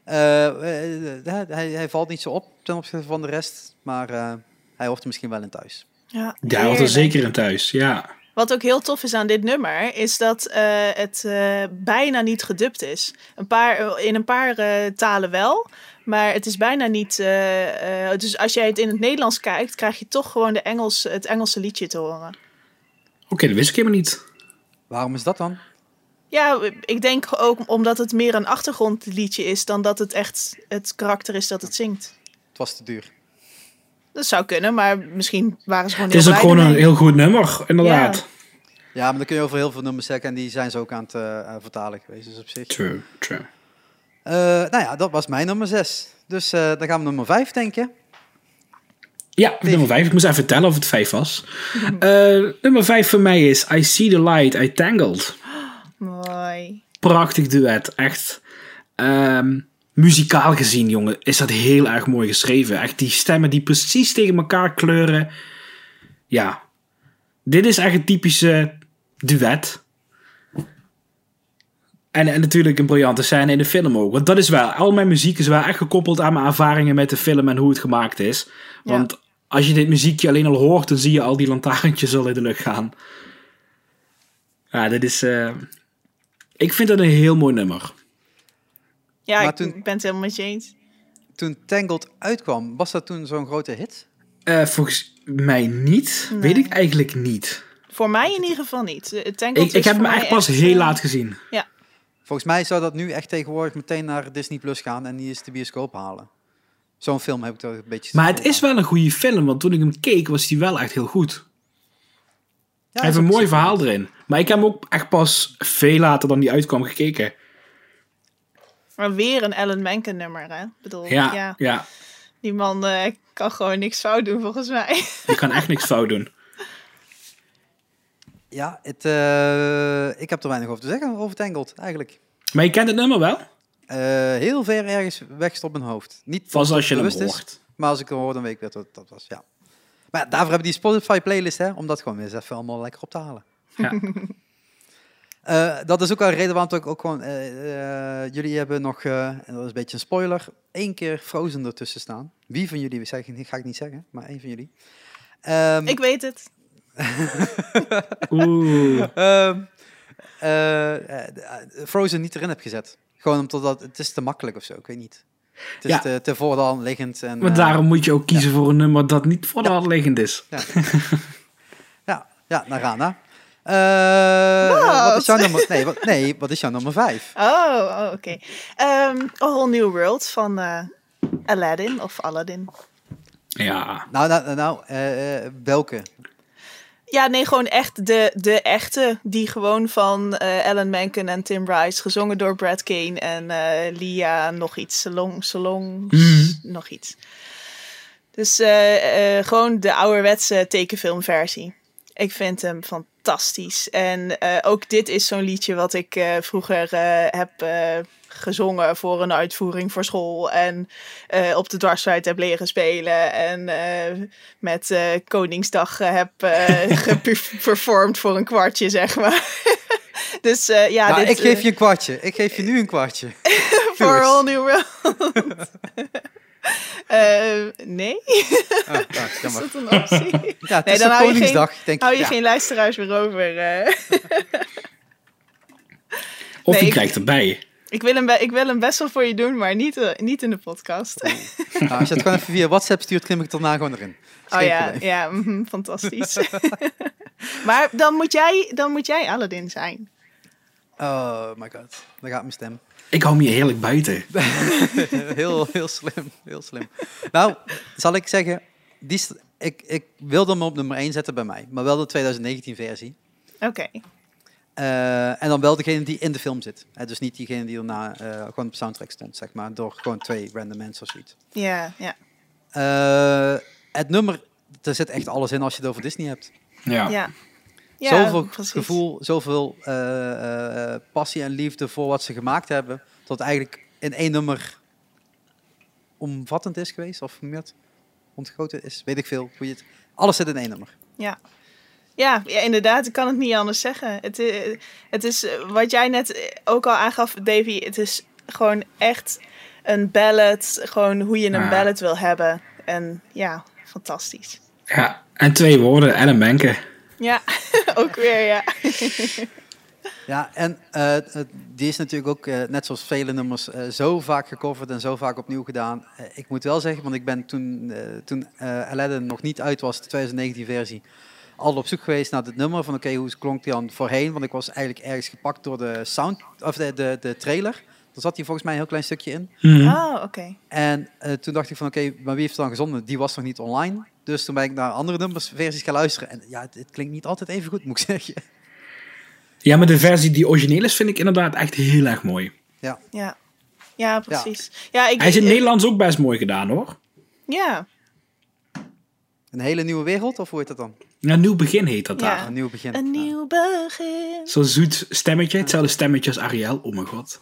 eh, eh, eh, hij, hij valt niet zo op ten opzichte van de rest, maar eh, hij hoort er misschien wel in thuis.
Ja,
Ja, hij hoort er
heerlijk.
zeker in thuis. Ja.
Wat ook heel tof is aan dit nummer, is dat eh, het eh, bijna niet gedubt is. Een paar, in een paar eh, talen wel, maar het is bijna niet. eh, eh, dus als jij het in het Nederlands kijkt, krijg je toch gewoon de Engels, het Engelse liedje te horen.
Oké, dat wist ik helemaal niet.
Waarom is dat dan?
Ja, ik denk ook omdat het meer een achtergrondliedje is dan dat het echt het karakter is dat het zingt.
Het was te duur.
Dat zou kunnen, maar misschien waren ze gewoon
Het is
heel
ook
blij
gewoon een
ermee.
heel goed nummer, inderdaad.
Ja, maar dan kun je over heel veel nummers zeggen en die zijn ze ook aan het eh, vertalen geweest, dus op zich.
True, true.
Eh, nou ja, dat was mijn nummer 6. Dus eh, dan gaan we nummer 5 denken.
Ja, nummer 5. Ik moest even vertellen of het 5
[LAUGHS]
was. Eh, nummer 5 voor mij is I See the Light, I Tangled.
Mooi.
Prachtig duet, echt. Ehm, muzikaal gezien, jongen, is dat heel erg mooi geschreven. Echt die stemmen die precies tegen elkaar kleuren. Ja, dit is echt een typische duet. En, en natuurlijk een briljante scène in de film ook. Want dat is wel, al mijn muziek is wel echt gekoppeld aan mijn ervaringen met de film en hoe het gemaakt is.
Ja.
Want als je dit muziekje alleen al hoort, dan zie je al die lantaarntjes al in de lucht gaan. Ja, dit is. eh, ik vind dat een heel mooi nummer.
Ja,
Maar
ik
toen-
ben het helemaal met je eens.
Toen Tangled uitkwam, was dat toen zo'n grote hit?
Eh, volgens mij niet.
Nee.
Weet ik eigenlijk niet.
Voor mij in ieder geval niet. Het Tangled
Ik, ik
is
heb
voor
hem
mij
echt pas
echt,
heel
eh,
laat gezien.
Volgens mij zou dat nu echt tegenwoordig meteen naar Disney Plus gaan en die is de bioscoop halen. Zo'n film heb ik toch een beetje.
Maar het is
voor.
wel een goede film, want toen ik hem keek was hij wel echt heel goed.
Ja,
hij heeft
dat
een
is
mooi
ook zeker.
verhaal erin. Maar ik heb hem ook echt pas veel later dan die uitkwam gekeken.
Maar weer een Ellen Menken nummer, hè? Ik bedoel, ja.
Ja, ja. ja.
die man eh, kan gewoon niks fout doen, volgens mij. [LAUGHS]
je kan echt niks fout doen.
Ja, het, eh, ik heb er weinig over te zeggen over Tangled eigenlijk.
Maar je kent het nummer wel?
Eh, heel ver ergens weg op mijn hoofd. Niet
Pas als je hem
bewust is.
hoort.
Maar als ik het hoor, dan weet ik weer dat dat was. Ja. Maar ja, daarvoor hebben die Spotify-playlist, hè, om dat gewoon weer eens even allemaal lekker op te halen.
Ja.
[LAUGHS] Eh, dat is ook wel een reden waarom het ook, ook gewoon... eh, eh, jullie hebben nog, eh, en dat is een beetje een spoiler, één keer Frozen ertussen staan. Wie van jullie, zeg ik niet- ga ik niet zeggen, maar één van jullie. Ehm,
Ik weet het.
Oeh.
Ehm, eh, eh, eh, Frozen niet erin heb gezet. Gewoon omdat dat, het is te makkelijk of zo, ik weet niet. Het is
Ja.
te, te voor de hand liggend. En,
Maar
eh,
daarom moet je ook kiezen voor een nummer dat niet voor de hand liggend is.
ja, ja, Narana. Eh,
Wat?
Wat is jouw nummer? Nee, wat, nee, wat is jouw nummer vijf?
Oh, oh, oké. Ehm, A Whole New World van eh, Aladdin of Aladdin.
Ja.
Nou, nou, nou, nou, eh, eh, welke?
Ja, nee, gewoon echt de, de echte. Die gewoon van eh, Alan Menken en Tim Rice. Gezongen door Brad Kane en eh, Lia. Nog iets. Salong, Salong.
Mhm.
Nog iets. Dus eh, eh, gewoon de ouderwetse tekenfilmversie. Ik vind hem fantastisch. En eh, ook dit is zo'n liedje wat ik eh, vroeger eh, heb eh, gezongen voor een uitvoering voor school. En eh, op de dwarsfluit heb leren spelen. En eh, met eh, Koningsdag eh, heb
[LAUGHS]
eh geperformed voor een kwartje, zeg maar. [LAUGHS] dus eh, ja,
nou,
dit,
ik geef
eh,
je een kwartje. Ik geef je nu een kwartje.
[LAUGHS] voor a whole new world. [LAUGHS] Eh, nee,
Oh, nou,
is [LAUGHS]
jammer.
dat een optie?
Ja, het
Nee,
is
dan
op
hou je geen-
Koningsdag, denk [LAUGHS] ik.
Hou je
Ja.
geen luisteraars meer over. eh.
Of
Nee,
je
ik-
krijgt erbij.
Ik, wil hem, be- ik wil hem best wel voor je doen, maar niet, eh, niet in de podcast.
Nou, als je het gewoon even via WhatsApp stuurt, klim ik het daarna gewoon erin.
[LAUGHS]
Is
oh
geen
ja,
probleem.
ja mhm, fantastisch. [LAUGHS] maar dan moet, jij, dan moet jij Aladdin zijn.
Oh my god, daar gaat mijn stem. [LAUGHS]
Ik hou me hier heerlijk
[LAUGHS]
buiten.
heel, heel slim, heel slim. Nou, zal ik zeggen, die, st- ik, ik wilde hem op nummer 1 zetten bij mij, maar wel de 2019 versie.
Oké.
Eh, en dan wel degene die in de film zit. Hè, dus niet diegene die erna eh, gewoon op de soundtrack stond, zeg maar, door gewoon twee random mensen of zoiets.
Ja, ja,
Eh, het nummer, er zit echt alles in als je het over Disney hebt.
Ja.
ja. Ja,
zoveel
precies.
gevoel, zoveel eh, eh, eh, passie en liefde voor wat ze gemaakt hebben, dat het eigenlijk in één nummer omvattend is geweest, of hoe noem je dat? Ontgoten is, weet ik veel. Hoe je het, alles zit in één nummer.
Ja. Ja, ja, inderdaad. Ik kan het niet anders zeggen. Het, i- het is eh, wat jij net eh, ook al aangaf, Davy. Het is gewoon echt een ballad. Gewoon hoe je een
Ja.
ballad wil hebben. En ja, fantastisch.
Ja. En twee woorden en een menken.
Ja, [LAUGHS] ook weer, ja.
Ja, en eh, het- die is natuurlijk ook, eh, net zoals vele nummers, eh, zo vaak gecoverd en zo vaak opnieuw gedaan. Eh, ik moet wel zeggen, want ik ben toen, eh, toen eh, Aladdin nog niet uit was, de 2019-versie, al op zoek geweest naar dit nummer. Van oké, hoe klonk die dan voorheen? Want ik was eigenlijk ergens gepakt door de, sound, of de, de, de trailer. Daar zat hij volgens mij een heel klein stukje in.
Mhm.
Oh, oké.
En eh, toen dacht ik van oké, maar wie heeft het dan gezonden? Die was nog niet online. Dus toen ben ik naar andere nummers, versies gaan luisteren. En ja, het, het klinkt niet altijd even goed, moet ik [LAUGHS] zeggen.
Ja, maar de versie die origineel is, vind ik inderdaad echt heel erg mooi.
Ja. ja, precies. Ja, ik,
Hij is in
ik-
Nederlands ook best mooi gedaan hoor.
Ja,
Een hele nieuwe wereld, of hoe heet dat dan?
Ja, nieuw begin heet dat
Ja.
daar.
Een nieuw begin.
een
Ja.
nieuw begin.
Zo'n zoet stemmetje, hetzelfde stemmetje als Ariel. Oh mijn god.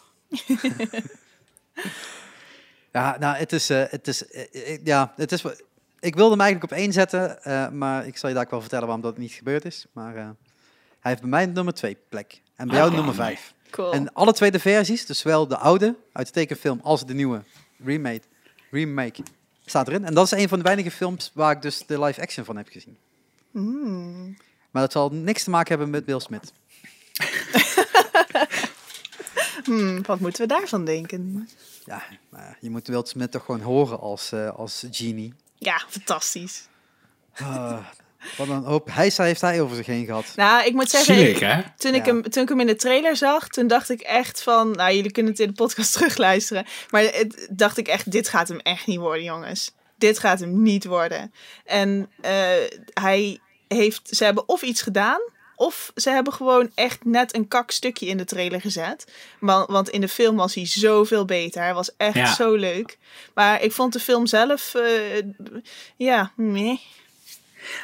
Ja, nou, het is, eh, het is, eh, eh, ja, het is, wa- ik wilde hem eigenlijk op één zetten, eh, maar ik zal je daar ook wel vertellen waarom dat niet gebeurd is. Maar eh, hij heeft bij mij nummer twee plek en bij jou
Ah,
nummer
nee.
vijf.
Cool.
En alle twee de versies, dus zowel de oude uit de tekenfilm als de nieuwe remake, remake staat erin. En dat is een van de weinige films waar ik dus de live action van heb gezien.
Hmm.
Maar dat zal niks te maken hebben met Will Smith.
Hmm, wat moeten we daarvan denken?
Ja, maar je moet Will Smith toch gewoon horen als, eh, als genie.
Ja, fantastisch.
Ah, wat een hoop heisa heeft hij over zich heen gehad.
Nou, ik moet zeggen...
Zielig hè?
Toen ik,
Ja.
hem, toen ik hem in de trailer zag, toen dacht ik echt van... Nou, jullie kunnen het in de podcast [LAUGHS] terugluisteren. Maar het, dacht ik echt, dit gaat hem echt niet worden, jongens. Dit gaat hem niet worden. En eh, hij heeft, ze hebben of iets gedaan... of ze hebben gewoon echt net een kak stukje in de trailer gezet. Maar, want in de film was hij zoveel beter. Hij was echt
Ja.
zo leuk. Maar ik vond de film zelf... eh, ja, meh.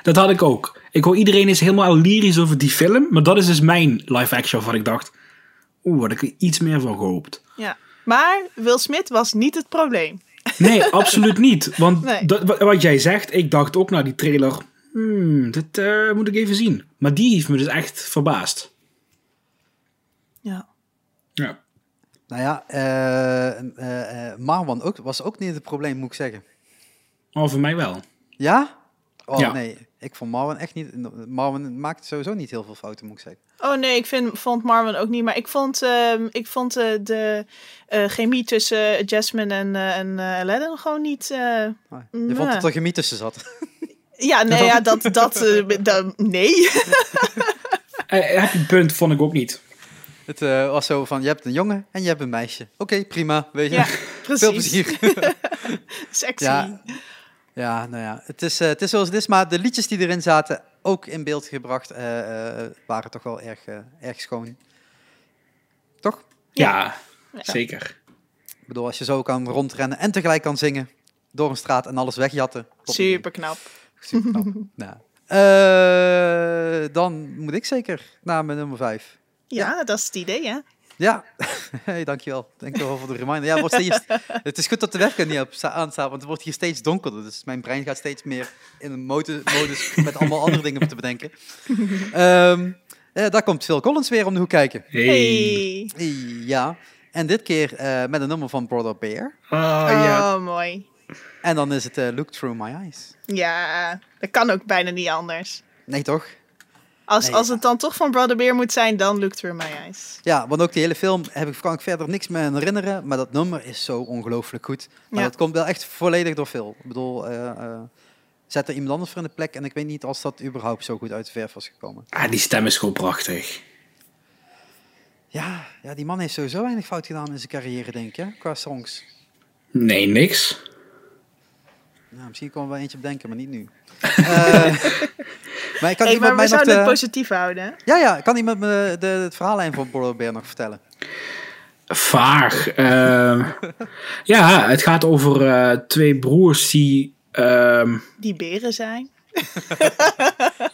Dat had ik ook. Ik hoor iedereen is helemaal lyrisch over die film. Maar dat is dus mijn live action van ik dacht. Oeh, had ik er iets meer van gehoopt.
Ja. Maar Will Smith was niet het probleem. [LAUGHS]
Nee, absoluut niet. Want
Nee.
dat- wa- wat jij zegt, ik dacht ook naar die trailer. Hmm, dit eh, moet ik even zien. Maar die heeft me dus echt verbaasd.
Ja.
Ja.
Nou ja, eh, eh, eh, Marwan ook, was ook niet het probleem, moet ik zeggen.
Oh, voor mij wel.
Ja? Oh
Ja.
nee, ik vond Marwan echt niet... Marwan maakt sowieso niet heel veel fouten, moet ik zeggen.
Oh nee, ik vind, vond Marwan ook niet. Maar ik vond, ehm, ik vond eh, de eh, chemie tussen Jasmine en, eh, en eh, Aladdin gewoon niet... eh,
Ah, Je
Nee.
vond dat er chemie tussen zat. [LAUGHS]
Ja, nee, ja, dat... dat eh, da- nee. [LAUGHS]
Eh, heb je een punt, vond ik ook niet.
het eh, was zo van, je hebt een jongen en je hebt een meisje. Oké, prima, weet je.
ja,
[LAUGHS]
[LAUGHS]
Veel
precies.
plezier.
Sexy.
Ja, ja, nou ja, het is, eh, het is zoals het is, maar de liedjes die erin zaten, ook in beeld gebracht, eh, eh, waren toch wel erg, eh, erg schoon. Toch?
Ja, zeker.
Ik bedoel, als je zo kan rondrennen en tegelijk kan zingen, door een straat en alles wegjatten. top.
Super knap.
[LAUGHS] Super knap. nou. Eh, dan moet ik zeker naar mijn nummer vijf.
Ja, dat is het idee, hè?
Ja, [LAUGHS] hey, dankjewel. Dankjewel voor de reminder. Ja, het, wordt steeds, het is goed dat de webcam niet op sta- aan staat, want het wordt hier steeds donkerder. Dus mijn brein gaat steeds meer in een mode- modus met allemaal andere dingen te bedenken. Ehm, eh, daar komt Phil Collins weer om de hoek kijken.
Hey.
Ja, en dit keer eh, met een nummer van Brother Bear.
Ah, ja.
Oh, mooi.
En dan is het eh, Look Through My Eyes.
Ja, dat kan ook bijna niet anders.
Nee, toch?
Als,
Nee,
als
ja.
het dan toch van Brother Bear moet zijn, dan Look Through My Eyes.
Ja, want ook die hele film heb ik, kan ik verder niks meer aan herinneren. Maar dat nummer is zo ongelooflijk goed. Maar
Ja.
dat komt wel echt volledig door Phil. Ik bedoel, eh, eh, zet er iemand anders voor in de plek. En ik weet niet als dat überhaupt zo goed uit de verf was gekomen.
Ah, die stem is gewoon prachtig.
Ja, ja die man heeft sowieso weinig fout gedaan in zijn carrière, denk ik. Hè? Qua songs.
Nee, niks.
Nou, misschien komen we wel eentje bedenken, maar niet nu. [LAUGHS] Eh, maar ik kan
Hey, maar
iemand mij
we
nog
zouden het
de,
positief houden. hè?
ja, ja, kan iemand me de, het verhaallijn van Bordeaux Bear nog vertellen?
[LAUGHS] Vaag. ehm. ja, het gaat over eh, twee broers die... [LAUGHS] ehm,
Die beren zijn.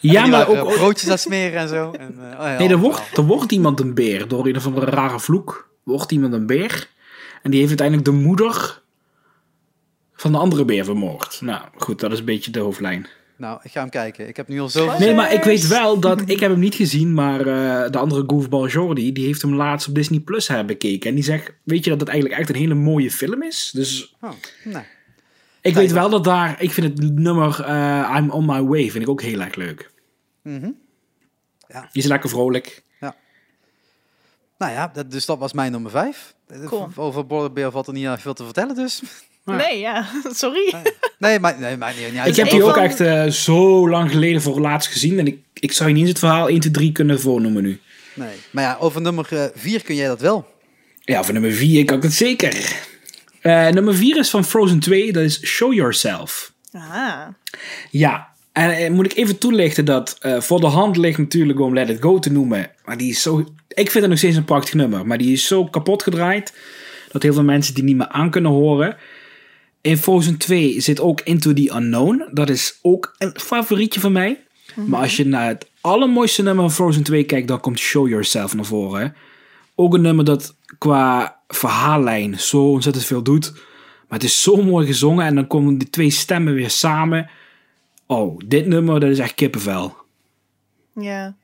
ja,
Die
maar
waren,
ook...
eh, broodjes aan smeren en zo. En, eh, oh ja,
Nee, er
allemaal.
wordt, er wordt iemand een beer. Door een of andere rare vloek wordt iemand een beer. En die heeft uiteindelijk de moeder van de andere beer vermoord. Nou, goed, dat is een beetje de hoofdlijn.
Nou, ik ga hem kijken. Ik heb nu al zoveel
Nee, maar ik weet wel dat... Ik heb hem niet gezien, maar eh, de andere goofball Jordi... die heeft hem laatst op Disney Plus hebben bekeken. En die zegt, weet je dat het eigenlijk echt een hele mooie film is? Dus
Oh, nou.
ik
Nee,
weet wel dat daar... Ik vind het nummer eh, I'm On My Way vind ik ook heel erg leuk.
Mhm.
Die is lekker vrolijk.
Dus
Nou ja, dat, dus dat was mijn nummer vijf. Eh,
Cool.
Over Border Bear valt er niet erg veel te vertellen dus. [LAUGHS]
Ja.
Nee, ja, [LAUGHS] sorry.
Ah. Nee, maar, nee, maar niet, niet uit. dus
Ik heb
een
die ook
van-
echt eh, zo lang geleden voor het laatst gezien. En ik, ik zou je niet eens het verhaal 1, 2, 3 kunnen voornoemen nu.
Nee. Maar ja, over nummer eh, vier kun jij dat wel.
Ja, voor nummer 4 kan ik het zeker. Eh, nummer 4 is van Frozen 2. Dat is Show Yourself.
Ah,
Ja, en eh, moet ik even toelichten dat eh, voor de hand ligt natuurlijk om Let It Go te noemen. Maar die is zo... Ik vind het nog steeds een prachtig nummer. Maar die is zo kapot gedraaid dat heel veel mensen die niet meer aan kunnen horen. In Frozen 2 zit ook Into the Unknown. Dat is ook een favorietje van mij. Maar als je naar het allermooiste nummer van Frozen 2 kijkt, dan komt Show Yourself naar voren. Ook een nummer dat qua verhaallijn zo ontzettend veel doet. Maar het is zo mooi gezongen en dan komen die twee stemmen weer samen. Oh, dit nummer, dat is echt kippenvel.
ja.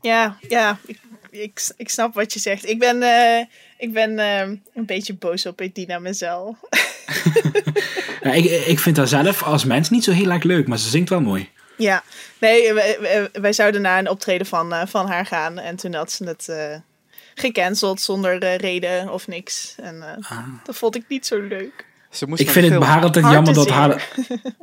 Ja, ja, ik, ik, ik snap wat je zegt. Ik ben, eh, ik ben ehm, een beetje boos op Edina mezelf.
Ja, ik, ik vind haar zelf als mens niet zo heel erg leuk, maar ze zingt wel mooi.
[LAUGHS] Ja, nee, wij, wij- wij zouden naar een optreden van, eh, van haar gaan. En toen had ze het eh, gecanceld zonder eh, reden of niks. En eh,
Ah.
dat vond ik niet zo leuk.
Ze moest
Ik
naar
vind
de
het bij
film.
haar altijd
Hard
jammer
te
dat haar...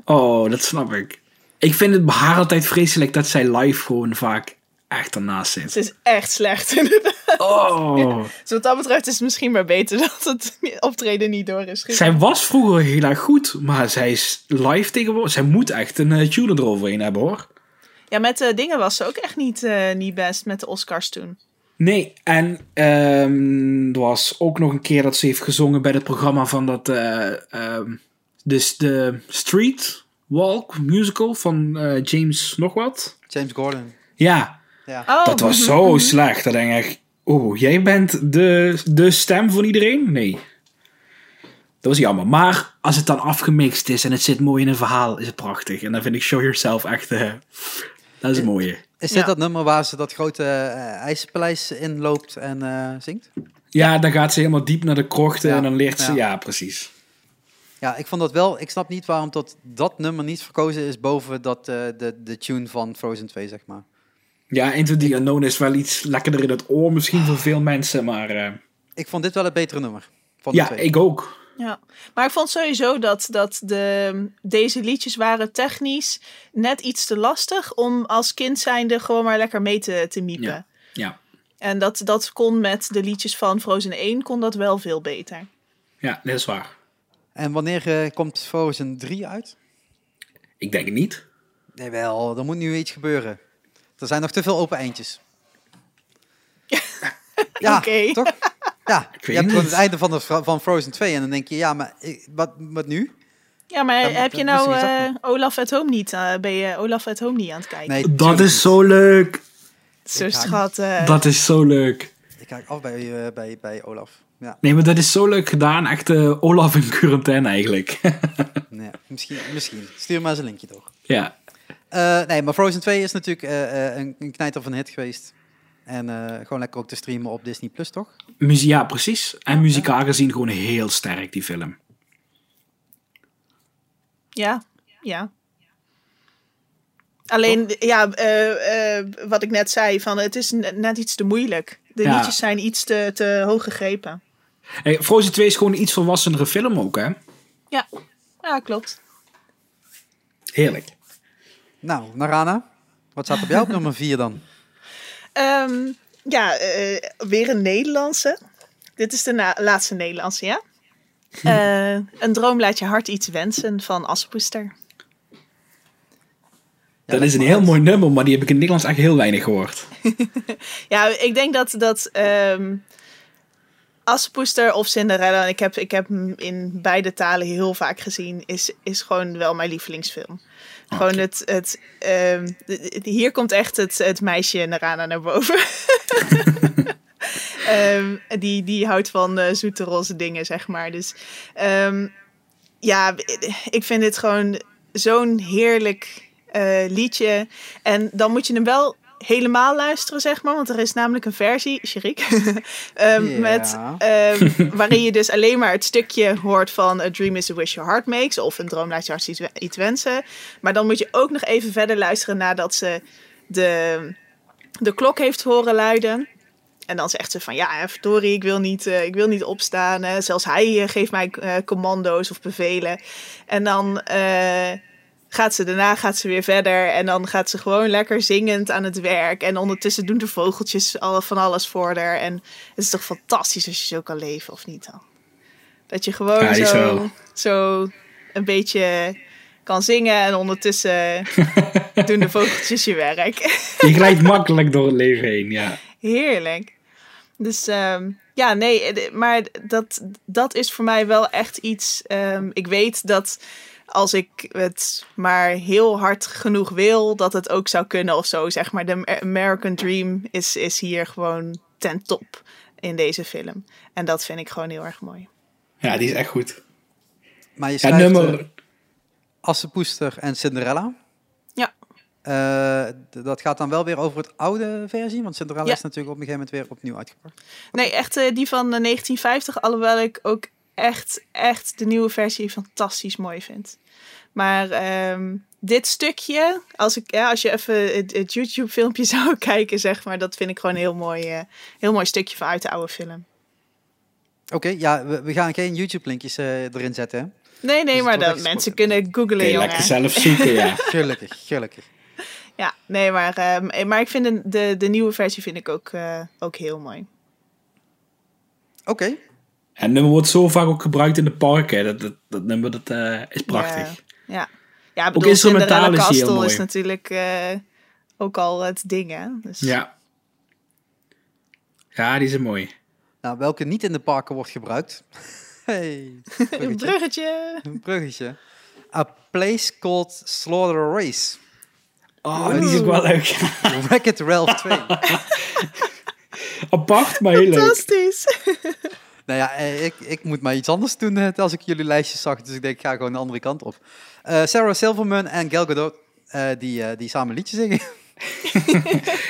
Oh, dat snap ik. Ik vind het bij haar altijd vreselijk dat zij live gewoon vaak echt ernaast
Ze [LAUGHS]
zit.
is echt slecht, inderdaad.
Oh,
Dus wat dat betreft is het misschien maar beter [LAUGHS] dat het optreden niet door is gegaan.
zij was vroeger heel erg goed, maar zij is live tegenwoordig. Zij moet echt een eh, tune eroverheen hebben, hoor.
Ja, met eh, dingen was ze ook echt niet, eh, niet best met de Oscars toen.
Nee, en ehm, er was ook nog een keer dat ze heeft gezongen bij het programma van dat. eh, ehm, dus de Street Walk musical van eh, James nog wat.
James Gordon.
Ja,
Ja.
Oh,
dat was
mhm.
[LAUGHS]
zo slecht. Dat oh, denk ik, oeh, jij bent de, de stem van iedereen? Nee. Dat was jammer. Maar als het dan afgemixt is en het zit mooi in een verhaal, is het prachtig. En dan vind ik Show Yourself echt... eh, dat is het mooie.
Is dit
Ja.
dat nummer waar ze dat grote eh, ijspaleis inloopt en eh, zingt?
Ja, dan gaat ze helemaal diep naar de krochten
Ja,
en dan leert ze...
ja.
Ja, precies.
Ja, ik vond dat wel. Ik snap niet waarom dat, dat nummer niet verkozen is boven dat, eh, de, de tune van Frozen 2, zeg maar.
Ja, Into the Unknown is wel iets lekkerder in het oor misschien voor veel mensen, maar... eh,
Ik vond dit wel het betere nummer. Van de
ja,
twee.
ik ook.
Ja, maar ik vond sowieso dat, dat de, deze liedjes waren technisch net iets te lastig om als kind zijnde gewoon maar lekker mee te, te miepen.
Ja. Ja,
En dat, dat kon met de liedjes van Frozen 1 kon dat wel veel beter.
ja dat is waar.
En wanneer eh, komt Frozen 3 uit?
Ik denk het niet.
Nee, wel, er moet nu iets gebeuren. Er zijn nog te veel open eindjes. ja,
Oké.
toch? Ja,
weet het
je hebt gewoon
niet.
het einde van, de, Fro- van Frozen 2 en dan denk je, ja, maar ik- wat, wat nu?
Ja, maar
Dan-
heb je
dan
nou
moest hij
eh,
iets
Olaf at Home niet? eh, ben je Olaf at Home niet aan het kijken?
Nee,
Dat
tuurlijk
is
niet.
zo leuk.
Zo
ik haak-
schat. eh,
Dat is zo leuk.
Ik kijk af bij, eh, bij, bij Olaf. Ja,
Nee, maar dat is zo leuk gedaan. Echt eh, Olaf in quarantaine eigenlijk. [LAUGHS]
nee, misschien, misschien. Stuur maar eens een linkje toch.
ja.
Eh, nee, maar Frozen 2 is natuurlijk eh, eh, een, een knijter van hit geweest. En eh, gewoon lekker ook te streamen op Disney Plus, toch?
Muzie- ja, precies. En muzikaal gezien gewoon heel sterk, die film.
Ja, ja. Alleen, ja, eh, eh, wat ik net zei, van het is ne- net iets te moeilijk. De
Ja.
liedjes zijn iets te, te hoog gegrepen.
Hey, Frozen 2 is gewoon een iets volwassenere film ook, hè?
Ja, ja klopt.
Heerlijk.
Nou, Narana, wat staat op jou op nummer 4 dan?
Ehm, ja, eh, weer een Nederlandse. Dit is de na- laatste Nederlandse, ja? Eh, een droom laat je hart iets wensen van Aspoester.
[LAUGHS] dat is een heel mooi nummer, maar die heb ik in het Nederlands echt heel weinig gehoord.
Ja, ik denk dat, dat ehm Aspoester of Cinderella, en ik heb, ik heb hem in beide talen heel vaak gezien, is, is gewoon wel mijn lievelingsfilm. Gewoon het, het ehm, de- de- de- hier komt echt het, het meisje Narana naar boven. Ehm, die, die houdt van eh, zoete roze dingen, zeg maar. Dus ehm, ja, ik vind dit gewoon zo'n heerlijk eh, liedje. En dan moet je hem wel helemaal luisteren, zeg maar. Want er is namelijk een versie, Sherik, [LAUGHS] ehm,
Ja.
met, ehm, waarin je dus alleen maar het stukje hoort van... A dream is a wish your heart makes. Of een droom laat je hart iets we- iets wensen. Maar dan moet je ook nog even verder luisteren nadat ze de, de klok heeft horen luiden. En dan zegt ze van ja, eh, verdorie, ik wil niet, eh, ik wil niet opstaan. eh, zelfs hij eh, geeft mij eh, commando's of bevelen. En dan eh, gaat ze daarna gaat ze weer verder. En dan gaat ze gewoon lekker zingend aan het werk. En ondertussen doen de vogeltjes al van alles voor haar. En het is toch fantastisch als je zo kan leven, of niet dan? Dat je gewoon
Ja, die is
zo,
wel-
zo een beetje kan zingen. En
[LAUGHS]
ondertussen doen de vogeltjes je werk.
Je
[LAUGHS]
glijdt makkelijk door het leven heen, ja.
Heerlijk. Dus ehm, ja, nee, eh, de- maar dat, dat is voor mij wel echt iets. ehm, ik weet dat als ik het maar heel hard genoeg wil, dat het ook zou kunnen of zo. Zeg maar, de Amer- American Dream is, is hier gewoon ten top in deze film. En dat vind ik gewoon heel erg mooi.
Ja, die is echt goed.
Maar je
Ja,
schrijft
nummer...
eh, Assepoester en Cinderella.
Ja.
Eh, d- dat gaat dan wel weer over het oude versie, want Cinderella
Ja.
is natuurlijk op een gegeven moment weer opnieuw uitgebracht.
Nee, echt eh, die van eh, 1950. Alhoewel ik ook echt, echt de nieuwe versie fantastisch mooi vind. Maar ehm, dit stukje, als, ik, ja, als je even het, het YouTube-filmpje [LAUGHS] zou kijken, zeg maar, dat vind ik gewoon een heel mooi, eh, heel mooi stukje vanuit de oude film.
Oké, ja, we, we gaan geen YouTube-linkjes eh, erin zetten. hè?
Nee, nee,
het
maar
wordt
dat
echt
mensen
spannend.
kunnen googlen,
Oké,
jongen.
lekker zelf zoeken, [LAUGHS] ja.
Gelukkig, [LAUGHS] gelukkig.
Ja, nee, maar, ehm, maar ik vind de, de, de nieuwe versie vind ik ook, eh, ook heel mooi.
Oké,
En het nummer wordt zo vaak ook gebruikt in de parken. Dat, dat, dat nummer dat, eh, is prachtig.
Ja, ja. ja ik bedoel,
instrumentaal
Cinderella
is die heel
Castle is
mooi.
natuurlijk eh, ook al het ding, hè? Dus,
Ja. Ja, die is mooi.
nou, welke niet in de parken wordt gebruikt? [LAUGHS] Hey,
Een
bruggetje.
bruggetje.
Een bruggetje. A Place Called Slaughter Race.
Oh, die is ook wel leuk. [LAUGHS]
Wreck-It Ralph 2.
Apart, maar heel leuk.
Fantastisch.
Nou ja, eh, ik, ik moet maar iets anders doen eh, als ik jullie lijstjes zag. Dus ik denk, ik ga gewoon de andere kant op. Eh, Sarah Silverman en Gal Gadot, eh, die, eh, die samen een liedje zingen. [LAUGHS]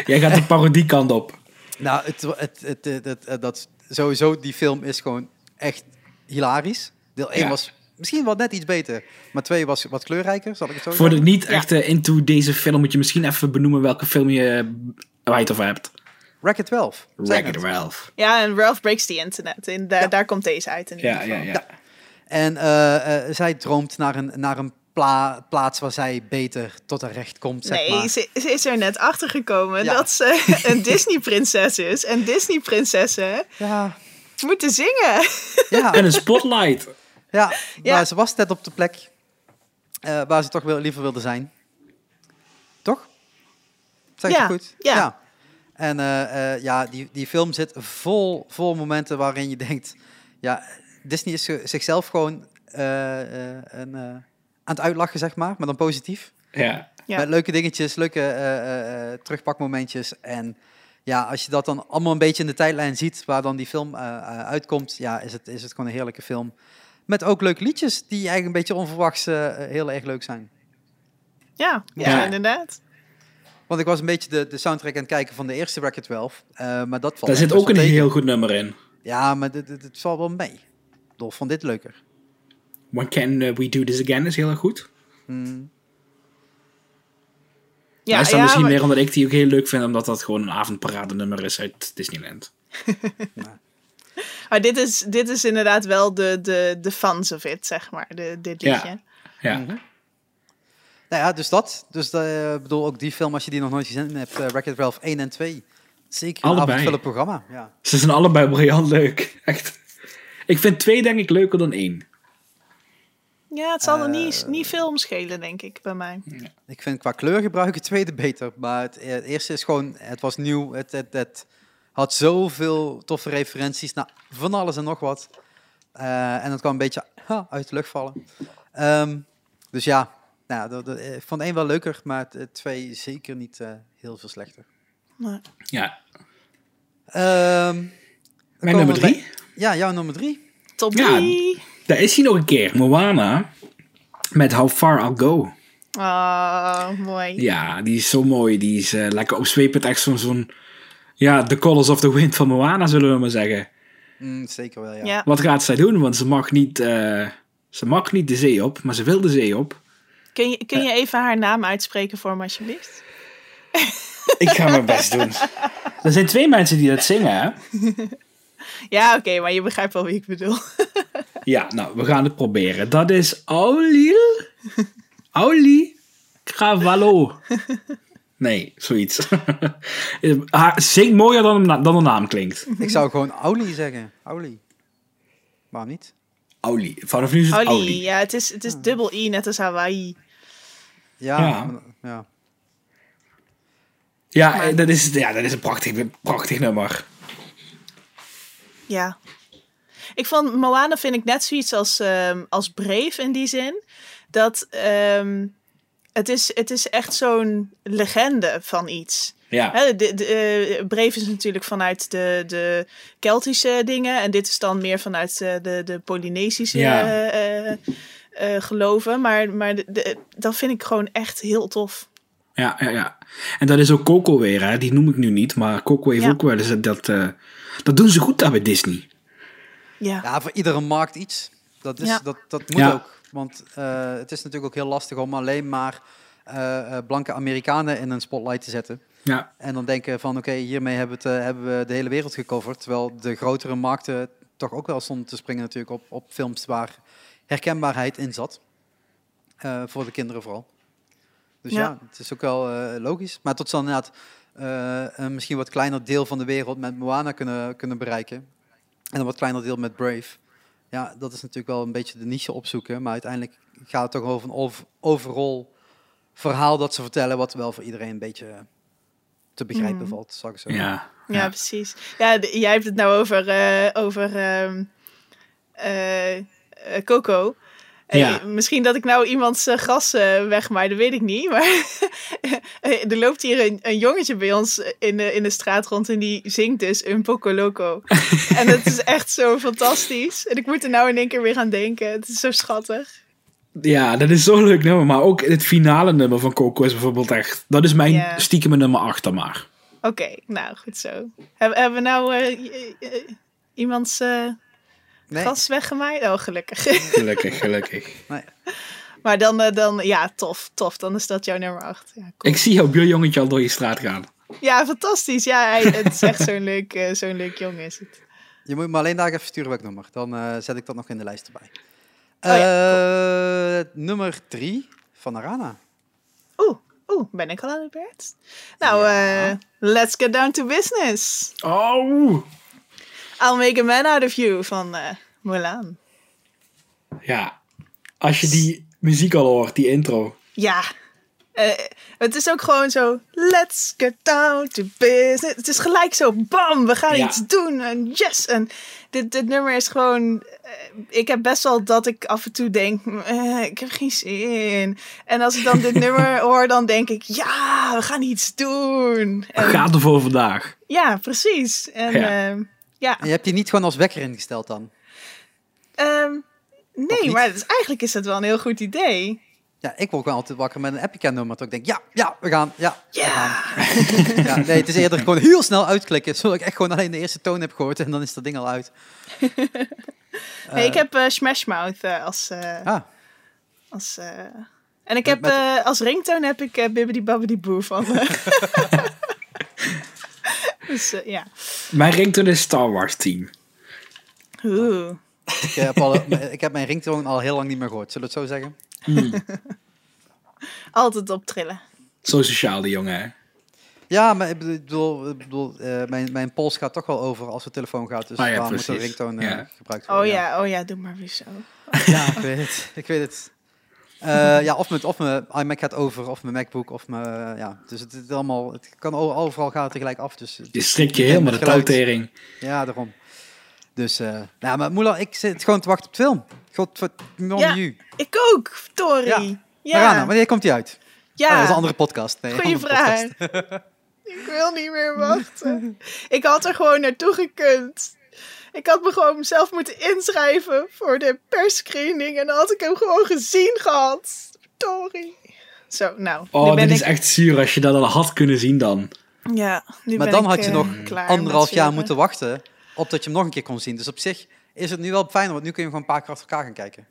Jij gaat de parodiekant [LAUGHS] op.
nou, het, het, het, het- het- eh, dat, sowieso, die film is gewoon echt hilarisch. Deel 1
Ja.
was misschien wel net iets beter. Maar 2 was wat kleurrijker, zal ik het zo
Voor de
zeggen.
niet
Ja.
echt eh, into deze film moet je misschien even benoemen welke film je eh, waar je het over hebt.
Wreck-It 12. zijn
Wreck-It
het.
Ralph.
Ja, en Ralph Breaks the Internet. In da-
Ja.
Daar komt deze uit. In ieder
Ja,
geval.
ja, ja.
En eh, eh, zij droomt naar een, naar een pla- plaats waar zij beter tot haar recht komt, zeg
nee,
maar.
ze, ze is er net achter gekomen
Ja.
dat ze [LAUGHS] een Disney-prinses is. En Disney-prinsessen
Ja,
moeten zingen.
[LAUGHS]
ja,
En een spotlight.
ja,
Ja.
Maar ze was net op de plek eh, waar ze toch wel liever wilde zijn. Toch? Zeg ik
Ja,
het goed?
ja.
En eh, eh, ja, die, die film zit vol, vol momenten waarin je denkt... Ja, Disney is ge- zichzelf gewoon eh, eh, een, eh, aan het uitlachen, zeg maar. Maar dan positief.
Ja.
Ja.
Met leuke dingetjes, leuke eh, eh, eh, terugpakmomentjes. En ja, als je dat dan allemaal een beetje in de tijdlijn ziet waar dan die film eh, eh, uitkomt, ja, is het, is het gewoon een heerlijke film. Met ook leuke liedjes die eigenlijk een beetje onverwachts eh, eh, heel erg leuk zijn.
Ja, ja.
Ja.
inderdaad.
Want ik was een beetje de, de soundtrack aan het kijken van de eerste Record 12. eh, maar dat valt
Daar
echt
zit
best
ook een
wel tegen.
heel goed nummer in.
Ja, maar dit, dit, dit valt wel mee. Dolf vond dit leuker.
When Can eh, We Do This Again is heel erg goed.
Hmm.
Ja,
Ja,
Hij staat
ja,
misschien
maar-
meer omdat ik die ook heel leuk vind, omdat dat gewoon een avondparade nummer is uit Disneyland.
maar dit, is, dit is inderdaad wel de, de, de fans of it, zeg maar. De, dit
Ja.
liedje.
Ja.
Mhm.
Nou ja, dus dat. Dus eh, ik bedoel, ook die film, als je die nog nooit gezien hebt, eh Record 12 1 en 2. Zeker een
Allebei.
avondvullend programma. Ja.
Ze zijn allebei briljant leuk. [LAUGHS] Echt. Ik vind twee denk ik leuker dan één.
Ja, het zal er niet, niet veel schelen, denk ik, bij mij.
Ik vind qua kleurgebruik het [LAUGHS] tweede beter. Maar het, eh, het eerste is gewoon, het was nieuw. Het, het, het had zoveel toffe referenties naar van alles en nog wat. Eh, en dat kwam een beetje ha, uit de lucht vallen. Ehm, dus ja, nou, ja, dat, dat- ik vond één wel leuker, maar het, het twee zeker niet eh, heel veel slechter.
Maar-
Ja.
Ehm, dan
Mijn
komen
nummer
we
drie.
bij- Ja, jouw nummer drie.
Top
Ja.
drie.
Daar is hij nog een keer. Moana. Met How Far I'll Go.
Ah, mooi.
Ja, die is zo mooi. Die is eh, lekker opzwepend. Echt zo'n... zo'n ja, The Colors of the Wind van Moana, zullen we maar zeggen.
Mm, zeker wel, ja.
Ja.
Wat gaat zij doen? Want ze mag niet... eh, ze mag niet de zee op, maar ze wil de zee
[LAUGHS]
op.
Kun, je, kun je even haar naam uitspreken voor me, alsjeblieft?
Ik ga mijn best doen. Er zijn twee mensen die dat zingen, hè?
Ja, oké, maar je begrijpt wel wie ik bedoel.
Ja, nou, we gaan het proberen. Dat is
[LAUGHS]
Aulil. Auli Cavallo. Nee, zoiets. [LAUGHS] Haar zingt mooier dan, hem na- dan de naam klinkt.
Ik zou gewoon Auli zeggen. Auli. Waarom niet?
Auli. Vanaf
[LAUGHS]
nu is het
Ollie,
Auli.
ja, het is, het is dubbel I, net als Hawaii.
Ja.
maar- ja.
Ja, eh, dat is, ja, dat is een prachtig, prachtig nummer.
Ja. Ik vond Moana vind ik net zoiets als, ehm, als Brave in die zin. Dat ehm, het, is, het is echt zo'n legende van iets.
Ja,
Hè, de, de, eh, Brave is natuurlijk vanuit de, de Keltische dingen. En dit is dan meer vanuit eh, de, de Polynesische
Ja.
eh, eh, eh, geloven. Maar, maar de- de- dat vind ik gewoon echt heel tof.
ja, ja, ja. En dat is ook Coco weer, hè. Die noem ik nu niet, maar Coco heeft
Ja.
ook wel eens dat... eh, dat doen ze goed daar bij Disney.
Ja.
Ja, voor iedere markt iets. Dat, is,
Ja.
dat, dat moet
Ja.
ook. Want eh, het is natuurlijk ook heel lastig om alleen maar eh, eh, blanke Amerikanen in een spotlight te zetten.
Ja,
En dan denken van, oké, hiermee hebben, we het, eh, hebben we de hele wereld gecoverd. Terwijl de grotere markten toch ook wel stonden te springen natuurlijk op, op films waar herkenbaarheid in zat. Eh, voor de kinderen vooral. Dus ja,
Ja.
het is ook wel eh, logisch. Maar tot ze dan inderdaad eh, een misschien wat kleiner deel van de wereld met Moana kunnen, kunnen bereiken. En een wat kleiner deel met Brave. Ja, dat is natuurlijk wel een beetje de niche opzoeken. Maar uiteindelijk gaat het toch over een ov- overall verhaal dat ze vertellen, wat wel voor iedereen een beetje eh, te begrijpen
Mhm.
valt, zal ik zo zeggen.
ja.
Ja, precies. Ja, de- jij hebt het nou over, eh, over ehm, eh, eh, Coco. En Hey,
Ja.
Misschien dat ik nou iemands eh, gras eh wegmaai, dat weet ik niet. Maar [LAUGHS] eh, er loopt hier een, een jongetje bij ons in de, in de straat rond en die zingt dus een Poco Loco. en dat is echt zo fantastisch. En ik moet er nou in één keer weer aan denken. Het is zo schattig.
Ja, dat is zo'n leuk nummer. Maar ook het finale nummer van Coco is bijvoorbeeld echt... Dat is mijn
Ja.
stiekeme nummer 8 dan maar.
Oké, nou goed zo. Hebben hebben we nou eh, i- i- iemands eh,
Nee,
gras weggemaaid? Oh, gelukkig.
Gelukkig, gelukkig.
nee.
maar dan, eh, dan, ja, tof, tof. Dan is dat jouw nummer 8. Ja,
[LAUGHS]
cool.
Ik zie jouw buurjongetje al door je straat gaan.
Ja, fantastisch. Ja, hij- het is echt zo'n leuk, eh, zo'n leuk jong is het.
Je moet me alleen daar even sturen welk nummer. Dan eh, zet ik dat nog in de lijst erbij.
ja,
Eh, Nummer drie van Arana.
Oeh, oeh, ben ik al aan de beurt? Nou,
Ja.
eh, let's get down to business.
Oh!
I'll make a man out of you van eh Mulan.
Ja, als je die muziek al hoort, die intro.
Ja. Eh, het is ook gewoon zo, let's get down to business. Het is gelijk zo, bam, we gaan
Ja.
iets doen en yes. En dit, dit nummer is gewoon, eh, ik heb best wel dat ik af en toe denk, "Mm, eh, ik heb geen zin. En als ik dan dit nummer hoor, dan denk ik, ja, we gaan iets doen. En-
Gaat ervoor vandaag.
ja, precies. En
Ja.
ehm, ja,
En je hebt die niet gewoon als wekker ingesteld dan?
ehm,
niet?
nee, maar het is, eigenlijk is dat wel een heel goed idee.
Ja, ik word wel altijd wakker met een Epica-nummer. Dat ik denk, ja, ja, we gaan, ja, we gaan.
Ja,
Ja, nee, het is eerder gewoon heel snel uitklikken, zodat ik echt gewoon alleen de eerste toon heb gehoord en dan is dat ding al uit.
nee, ik heb eh, Smash Mouth eh, als... eh,
Ah,
als eh, en ik heb
met-
eh, als ringtone heb ik eh, Bibbidi Babbidi Boo van. eh. [LAUGHS] dus eh, ja.
Mijn ringtone is Star Wars Team.
Oeh.
ik, eh, heb al, [LAUGHS] ik heb mijn ringtone al heel lang niet meer gehoord, zullen we het zo zeggen?
Altijd op trillen.
Zo sociaal die jongen, hè?
Ja, maar ik bedoel, ik bedoel eh, mijn, mijn pols gaat toch wel over als de telefoon gaat, dus
Ah ja,
daar moet een
precies.
ringtone eh,
Ja.
gebruikt worden.
Oh ja, oh ja, doe maar weer zo.
Ja, ik weet het. Ik weet het. Eh, ja, of mijn, of mijn iMac gaat over, of mijn MacBook, of mijn... Ja, dus het, is allemaal, het kan o- overal gaan tegelijk af. Dus, het-
Je strikt je
en
helemaal de
het geluid.
touwtering.
Ja, daarom. Dus, eh nou, maar Moela, ik zit gewoon te wachten op de film. Godverdomme
Ja.
you.
Ik ook, Tori.
Ja.
Ja.
Marana, wanneer komt die uit?
Ja.
Oh, dat is een andere podcast. Nee,
Goeie
andere podcast.
vraag. [LAUGHS] ik wil niet meer wachten. Ik had er gewoon naartoe gekund. Ik had me gewoon zelf moeten inschrijven voor de persscreening. En dan had ik hem gewoon gezien gehad. Tori. Zo, nou. nu
Oh,
ben
dit is
ik,
echt zuur als je dat al had kunnen zien dan.
Ja, nu
Maar
ben
dan
ik,
had je
eh,
nog
klaar met eh,
Anderhalf jaar
zeuren.
moeten wachten op dat je hem nog een keer kon zien. Dus op zich is het nu wel fijn, want nu kun je hem gewoon een paar keer achter elkaar gaan kijken.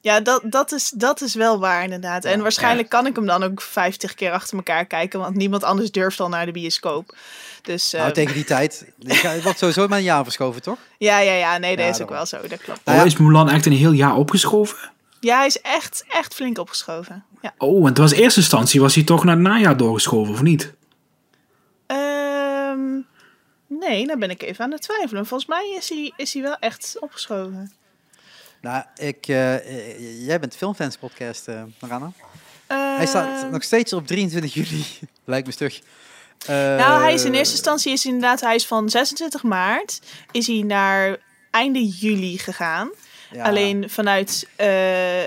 Ja, dat, dat, is, dat is wel waar inderdaad.
Ja.
en waarschijnlijk kan ik hem dan ook 50 keer achter elkaar kijken. Want niemand anders durft al naar de bioscoop. Dus eh,
Nou, tegen die tijd. [LAUGHS] ik ga- Het wordt sowieso maar een jaar verschoven, toch?
ja, ja, ja. Nee, dat
Ja,
is ook
daarom.
wel zo. Dat klopt.
Nou
Oh,
ja.
is Mulan echt een heel jaar opgeschoven?
Ja, hij is echt, echt flink opgeschoven. Ja.
Oh, want het was in eerste instantie was hij toch naar het najaar doorgeschoven, of niet?
Ehm, nee, dan ben ik even aan het twijfelen. Volgens mij is hij, is hij wel echt opgeschoven.
Nou, ik, eh, eh, jij bent filmfans podcast, eh Marana.
Ehm,
Hij staat nog steeds op 23 juli. [LAUGHS] Lijkt me stug. Eh,
Nou, hij is in eerste instantie is hij inderdaad hij is van 26 maart is hij naar einde juli gegaan.
Ja.
Alleen vanuit eh,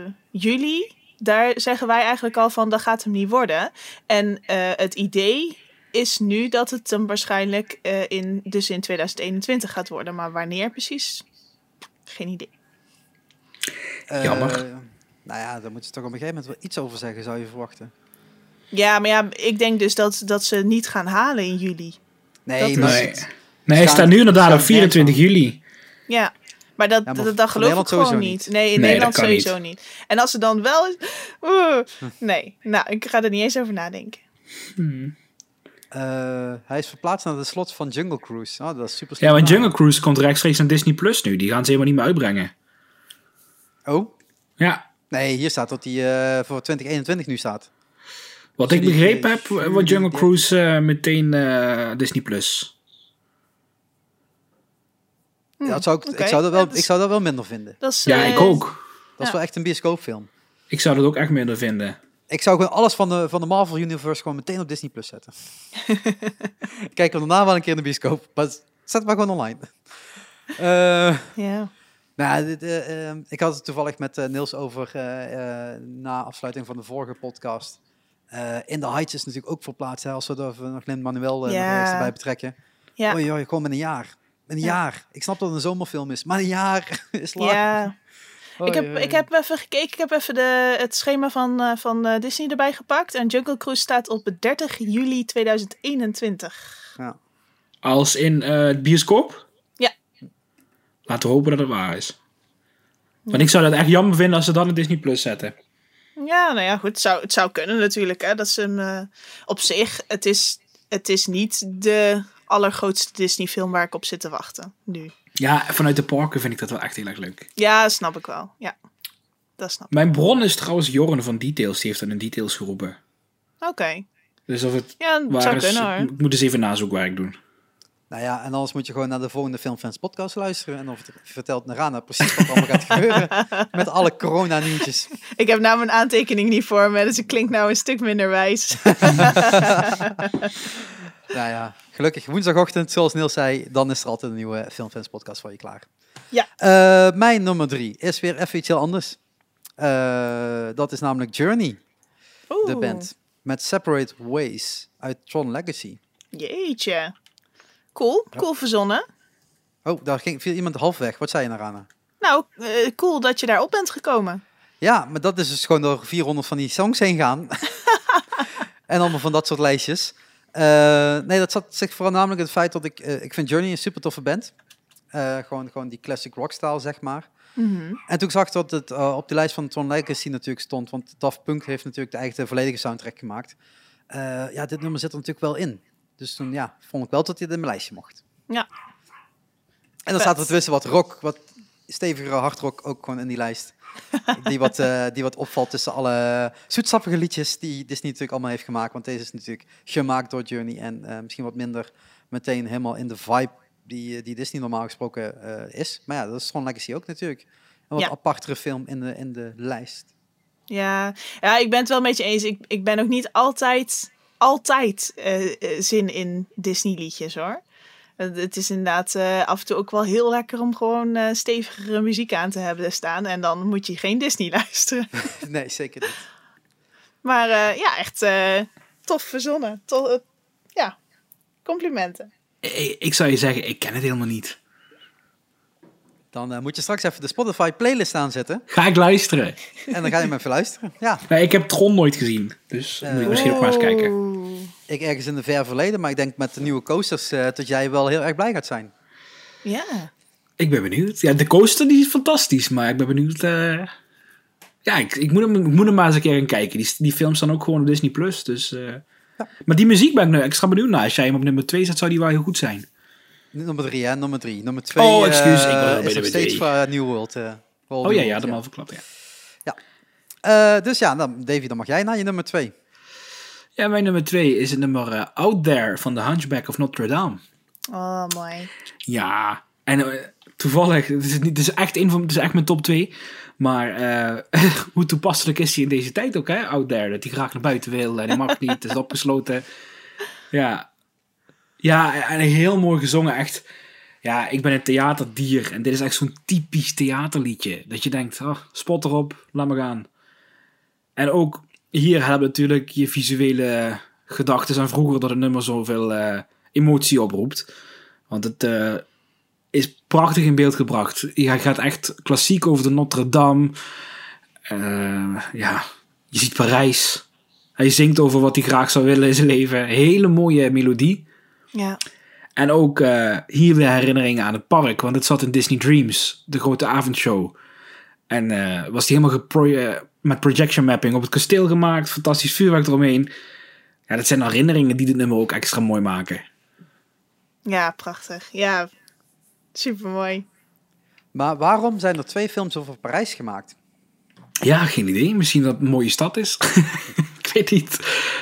eh, juli, daar zeggen wij eigenlijk al van dat gaat hem niet worden. En eh, het idee is nu dat het hem waarschijnlijk eh, in, dus in 2021 gaat worden. Maar wanneer precies? Geen idee.
Eh,
Jammer.
Nou ja, daar moeten ze toch op een gegeven moment wel iets over zeggen, zou je verwachten.
Ja, maar ja, ik denk dus dat, dat ze het niet gaan halen in juli. Dat
Nee,
is-
maar
Nee.
het-
Nee, hij
Staan-
staat nu inderdaad
staan
op 24 juli.
Ja, maar dat,
maar
dat,
van
dat geloof
Nederland
ik gewoon
sowieso
niet. Nee, in
Nee,
Nederland
dat kan niet.
sowieso niet. En als ze dan wel... is- Oeh,
Hm.
nee, nou, ik ga er niet eens over nadenken.
eh, hij is verplaatst naar de slot van Jungle Cruise. Oh, dat is super slim
Ja, want
gedaan.
Jungle Cruise komt rechtstreeks naar Disney Plus nu. Die gaan ze helemaal niet meer uitbrengen.
Oh,
Ja,
nee, hier staat dat hij eh, voor 2021 nu staat.
wat
Jullie-
ik begrepen heb, wordt Jungle
jullie-
Cruise eh, meteen eh, Disney Plus.
Ja, dat zou ik,
Hm, Hmm, oké.
ik, zou dat wel,
Ja, dat is-
ik zou dat wel minder vinden.
Dat is,
Ja,
eh,
ik ook.
Dat is
Ja.
wel echt een bioscoopfilm.
Ik zou dat ook echt minder vinden.
Ik zou gewoon alles van de, van de Marvel Universe gewoon meteen op Disney Plus
[LAUGHS]
zetten. Ik Kijk er daarna wel een keer in de bioscoop, maar zet het maar gewoon online. Eh,
Ja.
Nou, dit, eh, ehm, ik had het toevallig met eh, Niels over eh, eh, na afsluiting van de vorige podcast. Eh, in de Heights is natuurlijk ook verplaatst, hè, als we daar nog Lin Manuel eh nog
Ja.
eens erbij betrekken.
Ja.
Oei, oei, gewoon met een jaar. Een
Ja.
jaar. Ik snap dat het een zomerfilm is, maar een jaar [LAUGHS] is lang.
Ja,
Oei,
ik heb,
oei,
ik
oei.
heb even gekeken. Ik heb even de, het schema van, eh, van eh, Disney erbij gepakt. En Jungle Cruise staat op 30 juli 2021.
Als in eh, het bioscoop?
Ja.
Laten we hopen dat het waar is. Want ik zou dat echt jammer vinden als ze dan een Disney Plus zetten.
Ja, nou ja, goed. Het zou, het zou kunnen natuurlijk. Hè, dat ze hem eh, op zich. Het is, het is niet de allergrootste Disney-film waar ik op zit te wachten. Nu.
Ja, vanuit de parken vind ik dat wel echt heel erg leuk.
Ja, snap ik wel. Ja, dat snap ik.
Mijn bron is trouwens Jorn van Details. Die heeft dan in Details geroepen.
Oké.
Dus of het
Ja, dat
waar
zou
is,
kunnen hoor.
ik moet eens even nazoekwerk doen.
Nou ja, en anders moet je gewoon naar de volgende Filmfans podcast luisteren. En dan vert- vertelt Narana precies wat er allemaal gaat
[LAUGHS]
gebeuren. Met alle corona-nieuwtjes.
Ik heb nou mijn aantekening niet voor me, dus ik klink nou een stuk minder wijs.
Nou ja, gelukkig woensdagochtend, zoals Niels zei, dan is er altijd een nieuwe Filmfans podcast voor je klaar.
Ja.
Eh, mijn nummer drie is weer even iets heel anders. Eh, dat is namelijk Journey, de
Oeh,
band. Met Separate Ways uit Tron Legacy.
Jeetje. Cool,
Ja.
cool verzonnen.
Oh, daar ging, viel iemand half weg. Wat zei je, Narana?
Nou, eh, cool dat je daarop bent gekomen.
Ja, maar dat is dus gewoon door 400 van die songs heen gaan. en allemaal van dat soort lijstjes. Eh, nee, dat zat zich voornamelijk in het feit dat ik... eh, ik vind Journey een super toffe band. Eh, gewoon, gewoon die classic rockstyle, zeg maar.
Mhm.
En toen zag ik dat het eh, op de lijst van Tron Legacy natuurlijk stond. Want Daft Punk heeft natuurlijk de eigen volledige soundtrack gemaakt. Eh, ja, dit nummer zit er natuurlijk wel in. Dus toen ja, vond ik wel dat dit in mijn lijstje mocht.
Ja.
En dan
Vet.
staat er tenminste wat rock, wat stevigere hardrock ook gewoon in die
[LAUGHS]
lijst. die, wat, eh, die wat opvalt tussen alle zoetsappige liedjes die Disney natuurlijk allemaal heeft gemaakt. Want deze is natuurlijk gemaakt door Journey en eh, misschien wat minder meteen helemaal in de vibe die, eh, die Disney normaal gesproken eh, is. Maar ja, dat is Tron Legacy ook natuurlijk. Een wat
Ja.
apartere film in de, in de lijst. [LAUGHS]
Ja. ja, ik ben het wel met je eens. Ik, ik ben ook niet altijd, altijd eh, eh, zin in Disney-liedjes hoor. Het het is inderdaad eh, af en toe ook wel heel lekker om gewoon eh, stevigere muziek aan te hebben staan. En dan moet je geen Disney [LAUGHS] luisteren.
nee, zeker niet.
Maar eh, ja, echt eh, tof verzonnen. To- eh, ja, complimenten.
Ik, ik zou je zeggen, ik ken het helemaal niet.
Dan eh, moet je straks even de Spotify playlist aanzetten.
Ga ik luisteren?
En dan ga je me even luisteren. Ja,
Nee, ik heb Tron nooit gezien. Dus
Eh,
moet je misschien ook maar eens kijken.
Oeh.
ik ergens in de ver verleden. Maar ik denk met de nieuwe coasters eh, dat jij wel heel erg blij gaat zijn.
Ja.
Ik ben benieuwd. Ja, de coaster die is fantastisch. Maar ik ben benieuwd... eh, Ja, ik, ik, moet hem, ik moet hem maar eens een keer gaan kijken. Die, die films staan ook gewoon op Disney+. Plus, Dus, eh, Maar die muziek ben ik nu extra benieuwd naar. Als jij hem op nummer 2 zet, zou die wel heel goed zijn.
Nummer drie, hè? Nummer drie. Nummer twee
Oh, excuus,
eh,
ik was al bij
is
de
nog
WD.
steeds voor eh, New World. eh, Walt
Oh
New
ja, ja,
World,
dat mag verklapt, ja.
Eh, dus ja, dan, Davy, dan mag jij naar je nummer twee.
Ja, mijn nummer 2 is het nummer eh, Out There van The Hunchback of Notre Dame.
Oh, mooi.
Ja, en eh, toevallig, het is, niet, het, is echt een van, het is echt mijn top 2. Maar eh, [LAUGHS] hoe toepasselijk is hij in deze tijd ook, hè? Out there, dat hij graag naar buiten wil en hij mag niet, het is opgesloten. Ja. ja, en heel mooi gezongen, echt. Ja, ik ben een theaterdier en dit is echt zo'n typisch theaterliedje. Dat je denkt, oh, spot erop, laat me gaan. En ook hier hebben natuurlijk je visuele gedachten aan vroeger dat het nummer zoveel eh, emotie oproept. Want het eh, is prachtig in beeld gebracht. Hij gaat echt klassiek over de Notre Dame. Eh, ja, je ziet Parijs. Hij zingt over wat hij graag zou willen in zijn leven. Hele mooie melodie.
Ja.
En ook eh, hier weer herinneringen aan het park. Want het zat in Disney Dreams, de grote avondshow. En eh, was die helemaal gepro- eh, met projection mapping op het kasteel gemaakt. Fantastisch vuurwerk eromheen. Ja, dat zijn herinneringen die dit nummer ook extra mooi maken.
Ja, prachtig. Ja, supermooi.
Maar waarom zijn er twee films over Parijs gemaakt?
Ja, geen idee. Misschien dat het een mooie stad is. [LAUGHS] ik weet niet.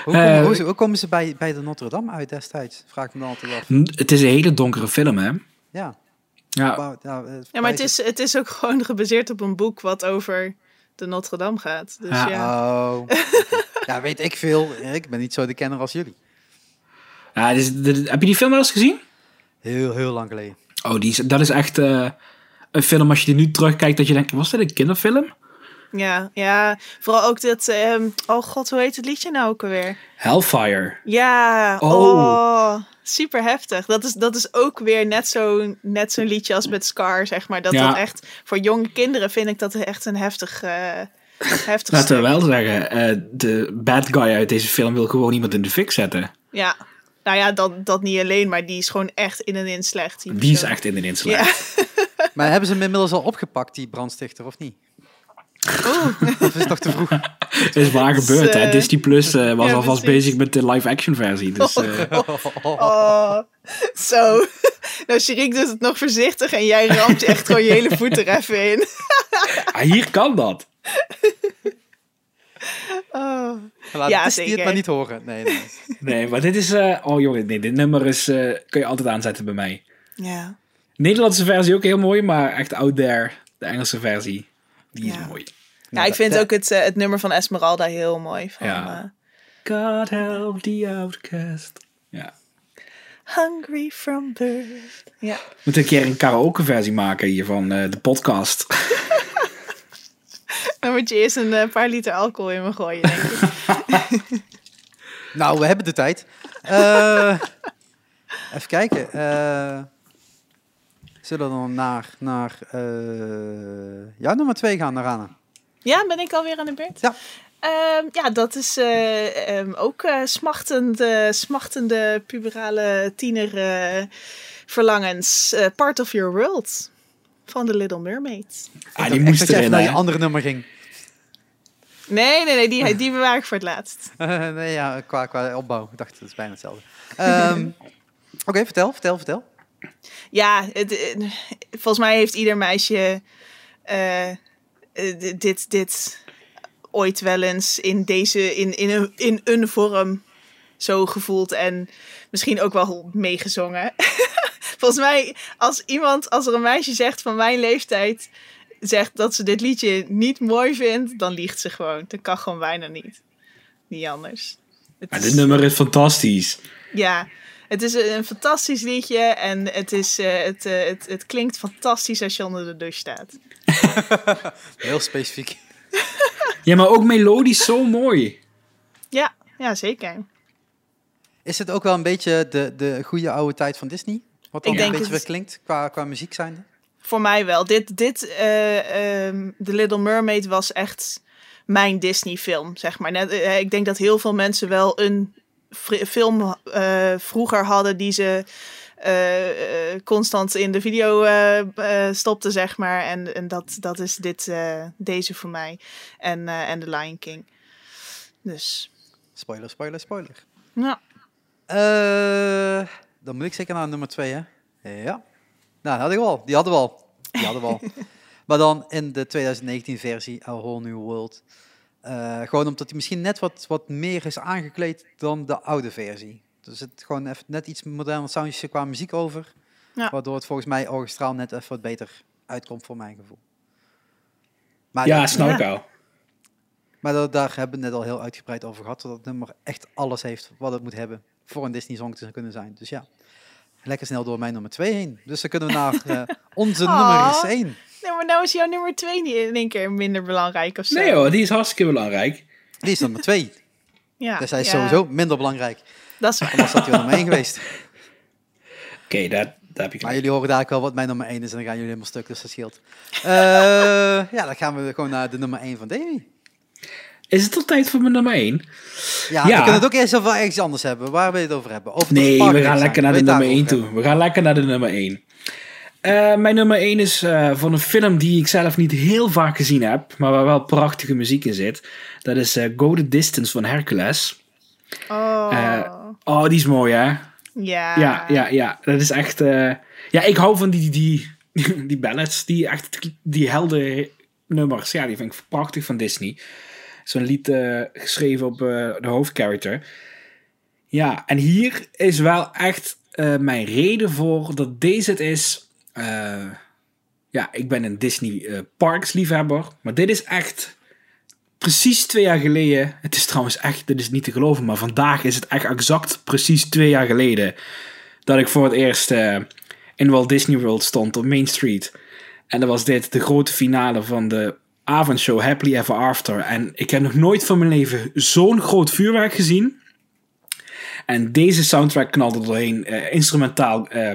Hoe komen,
Eh,
hoe, hoe komen ze bij, bij de Notre Dame uit destijds? Vraag ik me dan altijd af.
N- Het is een hele donkere film, hè?
Ja,
Ja,
maar, ja, eh,
Ja, maar
Parijs
het is, het is ook gewoon gebaseerd op een boek wat over de Notre Dame gaat. Dus
Ja.
ja.
Oh.
[LAUGHS]
ja, weet ik veel. Ik ben niet zo de kenner als jullie.
ja dit is- dit- heb je die film wel eens gezien?
Heel, heel lang geleden.
Oh, die is, dat is echt eh, een film, als je die nu terugkijkt, dat je denkt, was dit een kinderfilm?
Ja, ja. Vooral ook dat... ehm, oh god, hoe heet het liedje nou ook alweer?
Hellfire.
Ja,
Oh.
oh. super heftig. Dat is, dat is ook weer net zo'n net zo'n liedje als met Scar, zeg maar. Dat
Ja.
dat echt... Voor jonge kinderen vind ik dat echt een heftig... eh heftig
Laten we wel
stuk.
zeggen, eh, de bad guy uit deze film wil gewoon iemand in de fik zetten.
Ja. Nou ja, dat, dat niet alleen, maar die is gewoon echt in en in slecht.
Die is
persoon.
echt in de inslag.
Ja.
Maar hebben ze hem inmiddels al opgepakt, die brandstichter, of niet? [LAUGHS] Oeh. Of is het nog te
[LAUGHS]
vroeg?
Het is waar
Dus, [LAUGHS]
gebeurd, hè.
eh,
Disney Plus eh, was
ja,
alvast
precies.
bezig met de live-action versie. Dus, eh,
Oh, [LAUGHS] zo. Nou, Shirik doet het nog voorzichtig en jij ramt je echt gewoon je hele voet er even in.
ah, hier kan dat.
Oh.
Laat
Ja,
ja, Disney het
zeker.
maar niet horen. Nee, nee.
Nee, maar dit is... eh, oh jongen, nee, dit nummer is, eh, kun je altijd aanzetten bij mij.
[LAUGHS] Ja.
Nederlandse versie ook heel mooi, maar echt out there. De Engelse versie, die is
Ja.
mooi.
Ja, ik vind ook het, eh, het nummer van Esmeralda heel mooi. Van,
Ja.
eh,
God help the outcast. Ja.
Hungry from birth. Ja.
We moeten een keer een karaoke versie maken hier van eh, de podcast.
Dan moet je eerst een eh, paar liter alcohol in me gooien, denk ik.
Nou, we hebben de tijd. Eh, even kijken. eh, zullen we dan naar, naar eh, jouw nummer twee gaan, naar Rana?
[LAUGHS] Ja, ben ik alweer aan de beurt?
Ja.
Ehm, ja, dat is eh, ehm, ook eh, smachtende, smachtende puberale tiener eh, verlangens. Eh, Part of Your World van The Little Mermaid.
Ah,
Ik
die
dacht echt
moest
dat je even
erin,
naar
hè?
je andere nummer ging. [LAUGHS]
Nee, nee, nee, die, die bewaar ik voor het laatst.
Eh, nee, ja, qua, qua opbouw. Ik dacht, dat is bijna hetzelfde. Ehm, Oké, vertel, vertel, vertel.
Ja, het, eh, volgens mij heeft ieder meisje eh, eh, di- dit, dit ooit wel eens in, deze, in, in, een, in een vorm zo gevoeld en misschien ook wel meegezongen. [LAUGHS] volgens mij, als iemand, als er een meisje zegt van mijn leeftijd, zegt dat ze dit liedje niet mooi vindt, dan liegt ze gewoon. Dat kan gewoon bijna niet. Niet anders. Het
Ah,
is-
dit nummer is fantastisch.
ja, het is een een fantastisch liedje en het, is, eh, het, eh, het, het klinkt fantastisch als je onder de douche staat.
Heel specifiek.
Ja, maar ook melodisch zo mooi.
Ja, ja zeker.
Is het ook wel een beetje de, de goede oude tijd van Disney? Wat dan
Ik
een
denk
beetje
het
weer
is-
klinkt qua, qua muziek zijnde?
Voor mij wel. Dit, dit eh, ehm, The Little Mermaid was echt mijn Disney-film, zeg maar. Net, eh, ik denk dat heel veel mensen wel een fri- film eh, vroeger hadden die ze eh, eh, constant in de video eh, eh, stopten, zeg maar. En, en dat, dat is dit, eh, deze voor mij. En, eh, en The Lion King. Dus,
Spoiler, spoiler, spoiler.
ja.
Eh, dan moet ik zeker naar nummer twee, hè? Ja. Nou, had ik al. Die hadden we al. Die hadden [LAUGHS] we al. maar dan in de 2019 versie, A Whole New World. Eh, gewoon omdat die misschien net wat, wat meer is aangekleed dan de oude versie. Dus het gewoon even net iets moderner soundje qua muziek over.
Ja.
Waardoor het volgens mij orchestraal net even wat beter uitkomt voor mijn gevoel. Maar
Ja,
dat-
snap ik
Ja.
al.
maar dat, daar hebben we het net al heel uitgebreid over gehad. Dat het nummer echt alles heeft wat het moet hebben voor een Disney-song te kunnen zijn. Dus ja, lekker snel door mijn nummer 2 heen. Dus dan kunnen we naar
[LAUGHS]
eh, onze nummer
Aw.
is 1.
Nee, maar nou is jouw nummer twee niet in één keer minder belangrijk of zo.
Nee hoor, die is hartstikke belanijk.
Die is nummer 2.
Ja,
Dus hij is
ja,
sowieso minder belangrijk.
Dat is waar.
Anders had hij wel nummer 1 geweest.
Oké, daar, daar heb je
Maar
gelijk.
jullie horen dadelijk wel wat mijn nummer 1 is en dan gaan jullie helemaal stuk, dus dat scheelt. Eh, ja, dan gaan we gewoon naar de nummer 1 van Davy.
Is het al tijd voor mijn nummer 1?
Ja,
Ja.
we kunnen het ook eerst over ergens anders hebben. Waar wil je het over hebben? Over het
Nee, we
parkreeks
gaan
zijn.
lekker naar de
Wil je het
nummer 1
daarover
toe. We gaan lekker naar de nummer 1. Eh, mijn nummer 1 is eh, van een film die ik zelf niet heel vaak gezien heb, maar waar wel prachtige muziek in zit. Dat is eh, Go the Distance van Hercules.
Oh.
Eh, Oh, die is mooi hè?
ja.
Ja, ja, ja. Dat is echt. eh, ja, ik hou van die, die, die [LAUGHS] ballads, die echt die helder nummers. Ja, die vind ik prachtig van Disney. Zo'n lied eh, geschreven op eh, de hoofdcharacter. Ja, en hier is wel echt eh, mijn reden voor dat deze het is. Eh, ja, ik ben een Disney eh, Parks liefhebber, maar dit is echt precies twee jaar geleden. Het is trouwens echt, dit is niet te geloven, maar vandaag is het echt exact precies twee jaar geleden dat ik voor het eerst eh, in Walt Disney World stond op Main Street. En dat was dit, de grote finale van de avondshow Happily Ever After. En ik heb nog nooit van mijn leven zo'n groot vuurwerk gezien. En deze soundtrack knalde er doorheen. eh, instrumentaal eh,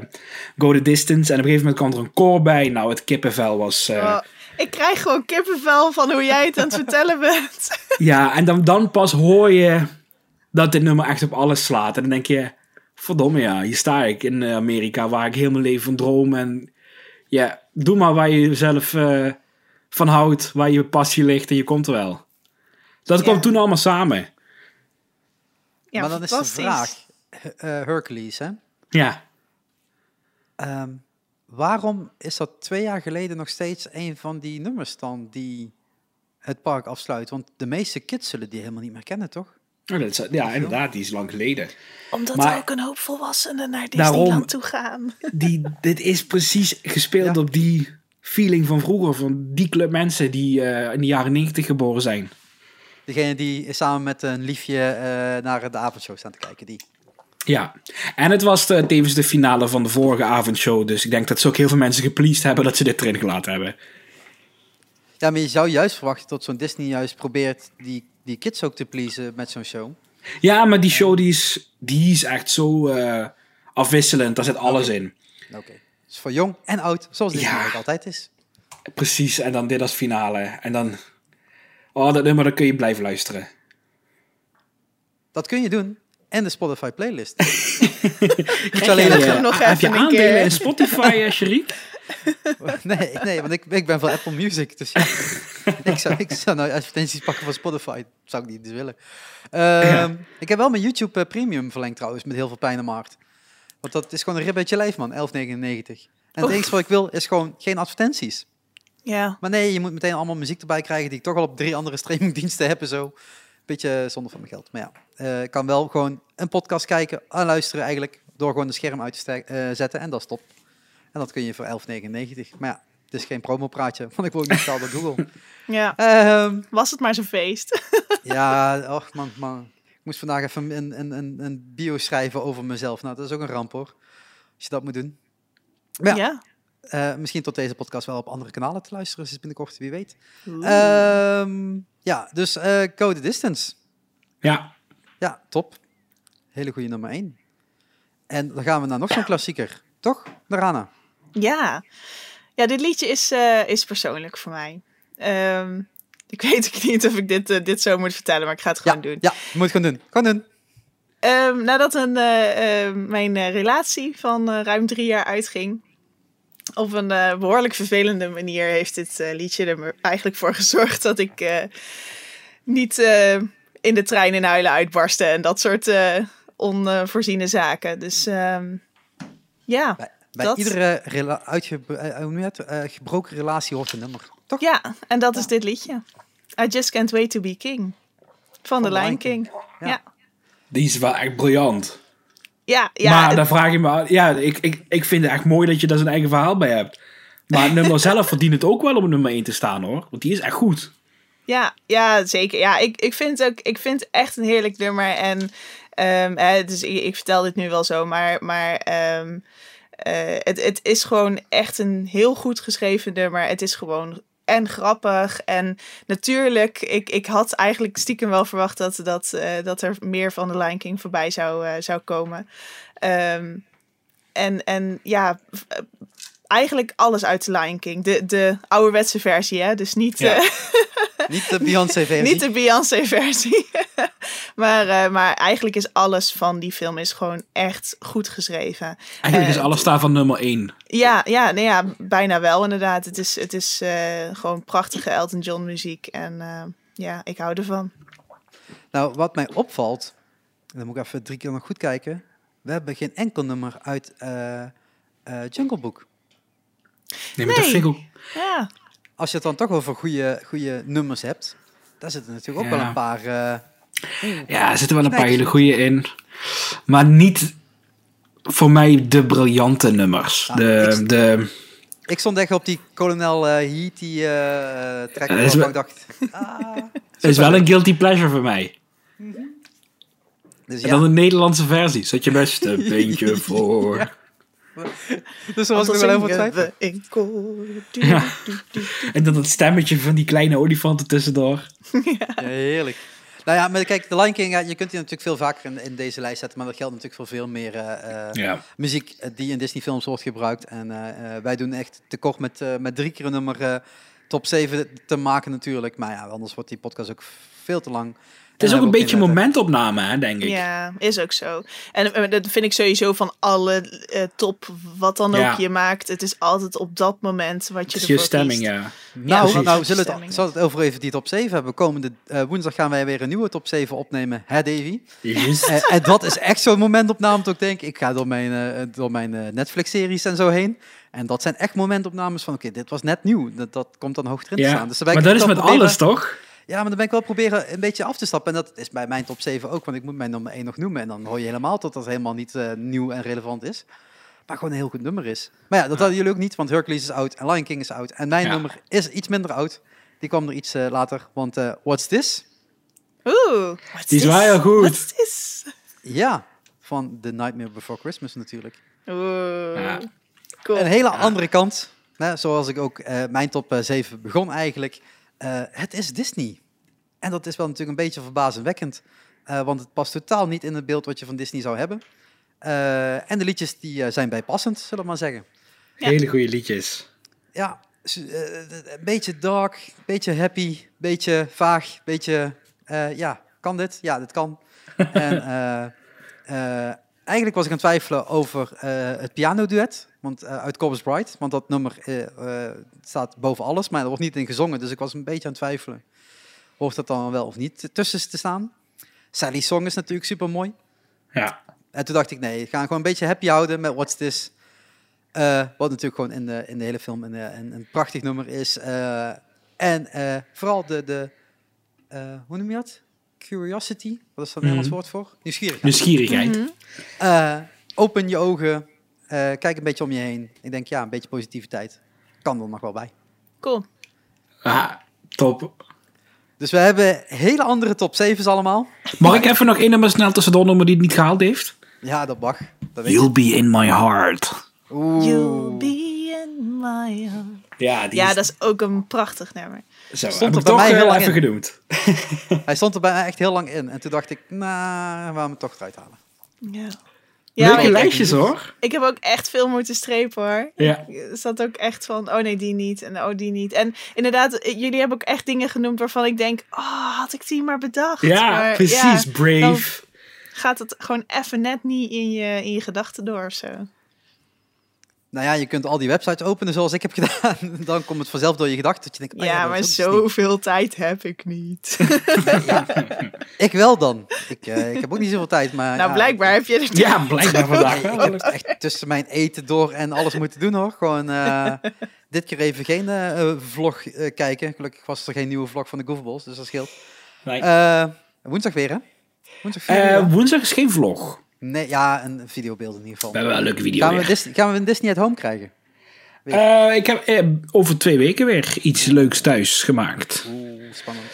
Go the Distance. En op een gegeven moment kwam er een koor bij. Nou, het kippenvel was... eh,
Oh, ik krijg gewoon kippenvel van hoe jij het aan het [LAUGHS] vertellen bent.
Ja, en dan, dan pas hoor je dat dit nummer echt op alles slaat. En dan denk je, verdomme ja, hier sta ik in eh, Amerika waar ik heel mijn leven van droom. En ja, doe maar waar je zelf eh, van houdt, waar je passie ligt en je komt er wel. Dat
Ja.
kwam toen allemaal samen.
Ja,
maar dan is de
fantastisch.
vraag, H- eh, Hercules, hè?
Ja,
Ehm, waarom is dat twee jaar geleden nog steeds een van die nummers dan die het park afsluit? Want de meeste kids zullen die helemaal niet meer kennen, toch?
Oh, dat is- ja inderdaad, die is lang geleden.
Omdat
Maar-
er ook een hoop volwassenen naar
Daarom-
Disneyland toe gaan.
die, dit is precies gespeeld
Ja.
op die feeling van vroeger. Van die club mensen die eh, in de jaren 90 geboren zijn.
Degene die samen met een liefje eh, naar de avondshow staan te kijken. Die.
Ja, en het was de, tevens de finale van de vorige avondshow. Dus ik denk dat ze ook heel veel mensen gepleased hebben dat ze dit erin gelaten hebben.
Ja, maar je zou juist verwachten dat zo'n Disney juist probeert die, die kids ook te pleasen met zo'n show.
Ja, maar die show die is, die is echt zo eh, afwisselend. Daar zit alles in.
Oké. Dus voor jong en oud, zoals Disney
Ja.
ook altijd is.
Precies, en dan dit als finale. En dan... Oh, dat nummer, dan kun je blijven luisteren.
Dat kun je doen. En de Spotify playlist. Niet
Krijg
alleen
jij,
het
eh,
nog
heb je
even een
aandelen
keer?
in Spotify, eh, Sherik?
[LAUGHS] Nee, nee, want ik, ik ben van Apple Music, dus ja. ik, zou, ik zou nou advertenties pakken van Spotify, zou ik niet eens willen. Ehm, Ik heb wel mijn YouTube eh, Premium verlengd trouwens, met heel veel pijn aan mijn hart. Want dat is gewoon een rib uit je lijf, man, 11,99. En het
Oef.
enige wat ik wil is gewoon geen advertenties.
Ja.
Maar nee, je moet meteen allemaal muziek erbij krijgen die ik toch al op drie andere streamingdiensten heb en zo. Beetje zonde van mijn geld. Maar ja, eh, ik kan wel gewoon een podcast kijken en luisteren eigenlijk door gewoon het scherm uit te ste- eh, zetten en dat is top. En dat kun je voor 11,99. Maar ja, het is geen promopraatje, want ik word niet betaald door Google.
ja,
Ehm,
was het maar zo'n feest.
ja, och man, man. Ik moest vandaag even een, een, een, een bio schrijven over mezelf. Nou, dat is ook een ramp hoor, als je dat moet doen.
Ja.
Ja. Eh, misschien tot deze podcast wel op andere kanalen te luisteren, dus binnenkort, wie weet.
Oeh.
Ehm, ja, dus eh Go The Distance.
Ja,
Ja, top. Hele goede nummer 1. En dan gaan we naar nog zo'n klassieker. Toch, Narana?
ja. ja, dit liedje is, eh, is persoonlijk voor mij. Ehm, ik weet ook niet of ik dit, eh, dit zo moet vertellen, maar ik ga het
Ja,
gewoon doen.
ja, je moet het gewoon doen. Gewoon doen.
Ehm, nadat een, eh, eh, mijn eh, relatie van eh, ruim drie jaar uitging. Op een eh, behoorlijk vervelende manier heeft dit eh, liedje er me- eigenlijk voor gezorgd dat ik eh, niet eh, in de trein in huilen uitbarstte en dat soort eh, onvoorziene zaken. Dus ehm, ja.
Bij, bij
Dat-
iedere rela- uitgebro- eh, hoe noem je het? Eh, gebroken relatie hoort een nummer. Toch?
ja, en dat is dit liedje. I Just Can't Wait to Be King. Van, de
The
Lion,
Lion
King.
Ja.
Ja,
die is wel echt briljant.
ja, ja,
maar
het-
dan vraag je me, af- ja, ik, ik, ik vind het echt mooi dat je daar zijn eigen verhaal bij hebt. Maar het nummer [LAUGHS] zelf verdient het ook wel om op nummer 1 te staan hoor. Want die is echt goed.
Ja, ja zeker. Ja, ik, ik, vind ook, ik vind het echt een heerlijk nummer. En ehm, hè, dus ik, ik vertel dit nu wel zo, maar, maar ehm, eh, het, het is gewoon echt een heel goed geschreven nummer. Het is gewoon en grappig. En natuurlijk, ik, ik had eigenlijk stiekem wel verwacht dat, dat, eh, dat er meer van de Lion King voorbij zou, eh, zou komen. Ehm, en, en ja, v- eh, eigenlijk alles uit de Lion King. De, de ouderwetse versie, hè? Dus niet,
Ja.
eh,
Niet de Beyoncé-versie.
[LAUGHS] niet de Beyoncé-versie. [LAUGHS] maar, eh, maar eigenlijk is alles van die film is gewoon echt goed geschreven.
Eigenlijk
Eh,
is alles daar van nummer 1.
Ja, ja, nee, ja bijna wel inderdaad. Het is, het is eh, gewoon prachtige Elton John muziek. En eh, ja, ik hou ervan.
Nou, wat mij opvalt, en dan moet ik even drie keer nog goed kijken. We hebben geen enkel nummer uit eh, eh, Jungle Book.
Nee, maar dat
Nee.
vind ik ook...
Ja,
Als je het dan toch over goede, goede nummers hebt, daar zitten natuurlijk ook
Ja.
wel een paar. eh,
Ja, er zitten wel een paar
Kijk.
hele goede in. Maar niet voor mij de briljante nummers.
Ah,
de,
ik-
de,
ik stond echt op die kolonel eh Heat, die eh trek
Ja, dat is
waarvan
wel-
ik
[LAUGHS]
dacht. ah.
het is wel een guilty pleasure voor mij.
Dus
En dan
ja,
[LAUGHS] de Nederlandse versie. Zet je beste beentje voor.
Dus er was nog wel heel veel twijfel.
we in koor. Du-
Ja.
du- du-
En dan dat stemmetje van die kleine olifanten tussendoor.
Ja, heerlijk. Nou ja, maar kijk, de Lion King, ja, je kunt die natuurlijk veel vaker in, in deze lijst zetten, maar dat geldt natuurlijk voor veel meer eh, eh,
Ja.
muziek eh, die in Disney-films wordt gebruikt. En eh, eh, wij doen echt tekort met, eh, met drie keer een nummer eh, top 7 te maken natuurlijk. Maar ja, anders wordt die podcast ook veel te lang.
Het is ook een beetje momentopname, hè, denk ik.
Ja, is ook zo. En eh, dat vind ik sowieso van alle eh, top, wat dan
Ja.
ook je maakt. Het is altijd op dat moment wat je
Het is
ervoor
je stemming,
kiest.
ja.
Nou,
precies.
nou zullen we het,
Stemming.
zullen we het over even die top 7 hebben. Komende eh, woensdag gaan wij weer een nieuwe top 7 opnemen. Hè, Davy?
Juist.
[LAUGHS] Eh, en dat is echt zo'n momentopname dat ik denk, ik ga door mijn, eh, door mijn eh, Netflix-series en zo heen. En dat zijn echt momentopnames van, oké, dit was net nieuw. Dat, dat komt dan hoog erin te
ja.
staan. Dus dan ben
maar
ik
dat is
wel
met
proberen-
alles, toch?
Ja, maar dan ben ik wel proberen een beetje af te stappen. En dat is bij mijn top 7 ook, want ik moet mijn nummer 1 nog noemen. En dan hoor je helemaal dat dat helemaal niet eh, nieuw en relevant is. Maar gewoon een heel goed nummer is. Maar ja, dat hadden jullie ook niet, want Hercules is oud en Lion King is oud. En mijn
Ja.
nummer is iets minder oud. Die kwam er iets eh, later, want eh, What's This?
Oeh, wat
Die is wel heel goed.
Wat is this?
Ja, van The Nightmare Before Christmas natuurlijk.
Oeh,
Ja.
cool.
Een hele andere kant. Hè, zoals ik ook eh, mijn top eh, 7 begon eigenlijk. Eh, het is Disney. En dat is wel natuurlijk een beetje verbazingwekkend. eh, want het past totaal niet in het beeld wat je van Disney zou hebben. Eh, en de liedjes die eh, zijn bijpassend, zullen we maar zeggen.
Ja.
Hele goede liedjes.
Ja, su- eh, eh, een beetje dark, een beetje happy, een beetje vaag, een beetje... eh, ja, kan dit? Ja, dit kan. en eh, eh, eigenlijk was ik aan het twijfelen over eh, het pianoduet want, eh, uit Corpus Bride. Want dat nummer eh, eh, staat boven alles, maar er wordt niet in gezongen. Dus ik was een beetje aan het twijfelen. Hoort dat dan wel of niet tussen te staan? Sally's Song is natuurlijk super mooi.
Ja.
En toen dacht ik, nee, ik ga gewoon een beetje happy houden met What's This. Eh, wat natuurlijk gewoon in de, in de hele film een, eh, een, een prachtig nummer is. Eh, en eh, vooral de, de eh, hoe noem je dat? Curiosity, wat is daar een Nederlands
Mhm.
woord voor? Nieuwsgierigheid.
Nieuwsgierigheid.
Mhm.
Eh, open je ogen, eh, kijk een beetje om je heen. Ik denk, ja, een beetje positiviteit kan er nog wel bij.
Cool.
Ah, top.
Dus we hebben hele andere top 7's allemaal.
Mag ik even nog één nummer snel tussendoor noemen die het niet gehaald heeft?
Ja, dat mag. Dat weet ik.
You'll be in my heart.
Oeh.
You'll be in my heart.
Ja, die
Ja, dat is ook een prachtig nummer.
is, zo,
stond
heb
er
ik
bij
toch
mij heel
heel
lang
even
in.
genoemd.
Hij stond er bij mij echt heel lang in. En toen dacht ik, nou, waarom hem het toch eruit halen.
Ja.
Ja,
Ja, maar
Leuke
ik,
lijstjes hoor.
ik heb ook echt veel moeten strepen hoor.
Ja.
Er zat ook echt van, oh nee, die niet en oh, die niet. En inderdaad, eh, jullie hebben ook echt dingen genoemd waarvan ik denk, oh, had ik die maar bedacht. Maar
Ja,
ja,
precies. Brave.
gaat het gewoon even net niet in je, in je gedachten door of zo.
Nou ja, je kunt al die websites openen zoals ik heb gedaan. [LAUGHS] Dan komt het vanzelf door je gedachten. Dat je denkt, oh
ja,
dat
maar
is ook Disney.
zoveel tijd heb ik niet.
Ik wel dan. Ik, eh, ik heb ook niet zoveel tijd,
[LAUGHS]
maar...
nou,
ja,
blijkbaar heb je er
Ja, blijkbaar vandaag
Ik
wel.
heb echt tussen mijn eten door en alles moeten doen, hoor. Gewoon eh, dit keer even geen eh, eh, vlog eh, kijken. Gelukkig was er geen nieuwe vlog van de Goofballs, dus dat scheelt.
Nee.
Eh, woensdag weer, hè? Woensdag vier uur,
Eh,
hè?
woensdag is geen vlog.
Nee, ja, een videobeeld in ieder geval.
We hebben wel een leuke video
Gaan we,
weer.
Disney, gaan we een Disney at Home krijgen?
Eh, ik heb eh, over twee weken weer iets leuks thuis gemaakt.
Oeh, spannend.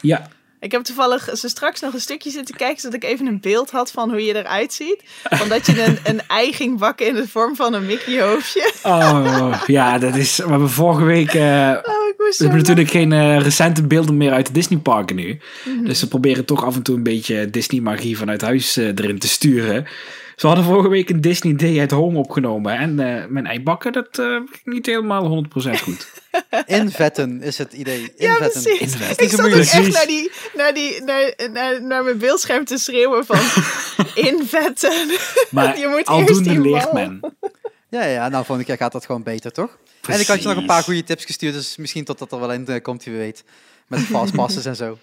Ja,
Ik heb toevallig zo straks nog een stukje zitten kijken, zodat ik even een beeld had van hoe je eruit ziet. Van dat je een, [LAUGHS] een ei ging bakken in de vorm van een Mickey-hoofdje.
Oh, ja, dat is. We hebben vorige week. eh,
Oh, ik moest
we
zo
hebben
lachen.
natuurlijk geen eh, recente beelden meer uit de Disneyparken nu.
Mhm.
Dus we proberen toch af en toe een beetje Disney-magie vanuit huis eh, erin te sturen. Dus we hadden vorige week een Disney Day at Home opgenomen. En eh, mijn eibakken, dat eh, ging niet helemaal 100%
[LAUGHS]
goed.
Invetten is het idee.
Ja,
Invetten.
precies.
Invetten.
Ik zat ook
Precies.
echt naar, die, naar, die, naar, naar, naar mijn beeldscherm te schreeuwen van [LAUGHS] invetten.
Maar
[LAUGHS] Je moet eerst
aldoende
die
leert
wal.
men.
Ja, ja, nou, volgende keer gaat dat gewoon beter, toch? En ik had je nog een
Precies.
paar goede tips gestuurd, dus misschien tot dat er wel in eh, komt, wie weet. Met fastpasses en zo.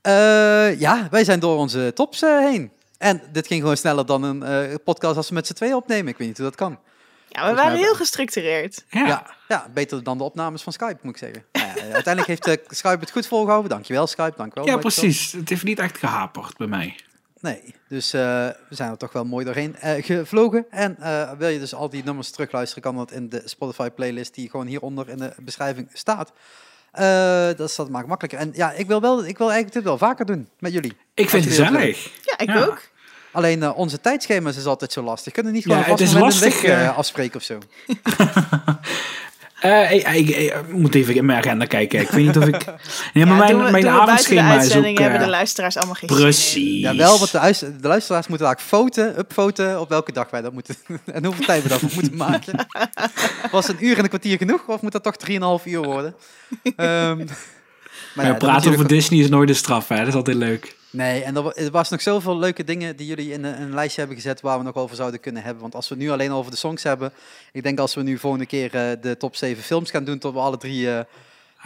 Eh, ja, wij zijn door onze tops eh, heen. En dit ging gewoon sneller dan een eh, podcast als we met z'n tweeën opnemen. Ik weet niet hoe dat kan.
Ja, we waren heel gestructureerd.
Ja.
Ja, ja, beter dan de opnames van Skype, moet ik zeggen. Nou ja, eh, uiteindelijk heeft eh, Skype het goed volgehouden. Dankjewel, Skype. Dankjewel.
Ja,
Microsoft.
precies. Het heeft niet echt gehaperd bij mij.
Nee, dus eh, we zijn er toch wel mooi doorheen eh, gevlogen. En eh, wil je dus al die nummers terugluisteren, kan dat in de Spotify-playlist die gewoon hieronder in de beschrijving staat. Eh, dat, is, dat maakt het makkelijker. En ja, ik wil, wel, ik wil eigenlijk dit wel vaker doen met jullie.
Ik
Als
vind het
jullie dat willen.
gezellig.
Ja, ik
Ja.
ook.
Alleen eh, onze tijdschema's is altijd zo lastig. Kunnen we niet gewoon
Ja,
vast
het is
moment een
lastig,
week eh,
eh.
afspreken of zo?
Eh, ik, ik- ik moet even in mijn agenda kijken. Ik weet niet of [LAUGHS] ik... Nee, maar
Ja,
mijn,
doen we-
mijn
doen we
avondschema
buiten de
is ook...
uitzending hebben
eh,
de luisteraars allemaal geen zin in.
precies.
Ja, wel, want de, huis- de luisteraars moeten vaak foten, upfoten op welke dag wij dat moeten. [LAUGHS] en hoeveel tijd we daarvoor moeten
[LAUGHS]
maken. Was een uur en een kwartier genoeg, of moet dat toch 3,5 uur worden? Ehm,
[LAUGHS] Maar
ja, dat
praten
natuurlijk-
over Disney is nooit een straf, hè. Dat is altijd leuk.
Nee, en er wa- er was nog zoveel leuke dingen die jullie in een, een lijstje hebben gezet waar we nog over zouden kunnen hebben. Want als we nu alleen al over de songs hebben, ik denk als we nu volgende keer eh, de top 7 films gaan doen, tot we alle drie eh,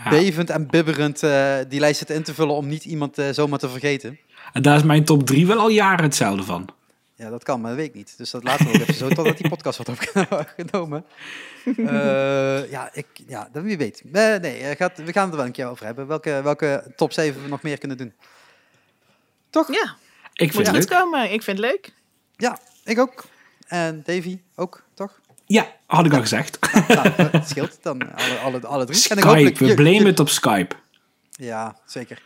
Ja.
bevend en bibberend eh, die lijst zitten in te vullen om niet iemand eh, zomaar te vergeten.
En daar is mijn top 3 wel al jaren hetzelfde van.
Ja, dat kan, maar dat weet ik niet. Dus dat laten we nog even zo, totdat die podcast wordt [LAUGHS] opgenomen. Eh, ja, ik, ja, dat wie weet. Nee, nee eh, gaat, we gaan het er wel een keer over hebben. Welke, welke top 7 we nog meer kunnen doen.
Ja,
Ik
moet
vind het
goed
leuk.
komen. Ik vind het leuk.
Ja, ik ook. En Davy ook, toch? [LAUGHS]
Ja, had ik al gezegd.
nou, dat scheelt dan alle, alle, alle drie. En ik
Skype,
hopelijk-
we
je-
blamen
je-
het op Skype.
Ja, zeker.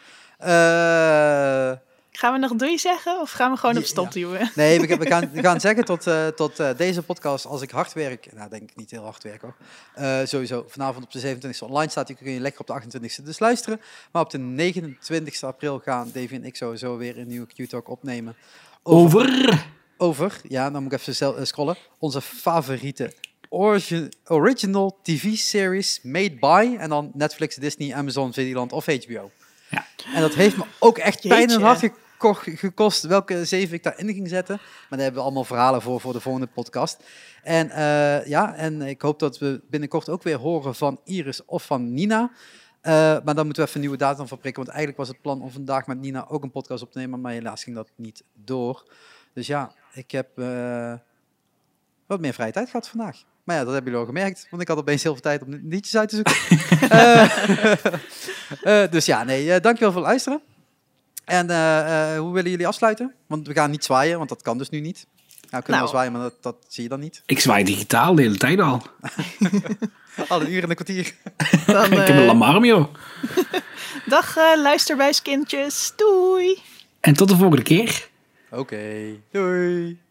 Eh,
Gaan we nog doei zeggen of gaan we gewoon op
Ja,
stop duwen?
[LAUGHS]
nee, we, gaan- we gaan, we gaan zeggen tot, eh, tot eh, deze podcast, als ik hard werk, nou denk ik niet heel hard werk hoor, Eh, sowieso vanavond op de 27e online staat, die kun je lekker op de 28e dus luisteren. Maar op de 29e april gaan Davy en ik sowieso weer een nieuwe Q-talk opnemen.
Over...
over, ja, dan moet ik even zel- eh, scrollen, onze favoriete origi- original TV-series made by, en dan Netflix, Disney, Amazon, Videoland of HBO.
Ja.
En dat heeft me ook echt pijn in het hart
Jeetje.
geko- gekost welke zeven ik daarin ging zetten. Maar daar hebben we allemaal verhalen voor voor de volgende podcast. En eh, ja, en ik hoop dat we binnenkort ook weer horen van Iris of van Nina. Eh, maar dan moeten we even een nieuwe datum van prikken. Want eigenlijk was het plan om vandaag met Nina ook een podcast op te nemen. Maar helaas ging dat niet door. Dus ja, ik heb eh, wat meer vrije tijd gehad vandaag. Maar ja, dat hebben jullie al gemerkt. Want ik had opeens heel veel tijd om liedjes uit te zoeken. Eh, eh, dus ja, nee, eh, dankjewel voor het luisteren. En eh, eh, hoe willen jullie afsluiten? Want we gaan niet zwaaien, want dat kan dus nu niet. Nou, we kunnen
Nou.
wel zwaaien, maar dat, dat zie je dan niet.
Ik zwaai digitaal de hele tijd al. [LAUGHS]
Al een uur en een kwartier.
Dan,
Ik heb een
eh,
lamarm, joh.
dag eh, luisterbuiskindjes. Doei!
En tot de volgende keer.
Oké, doei.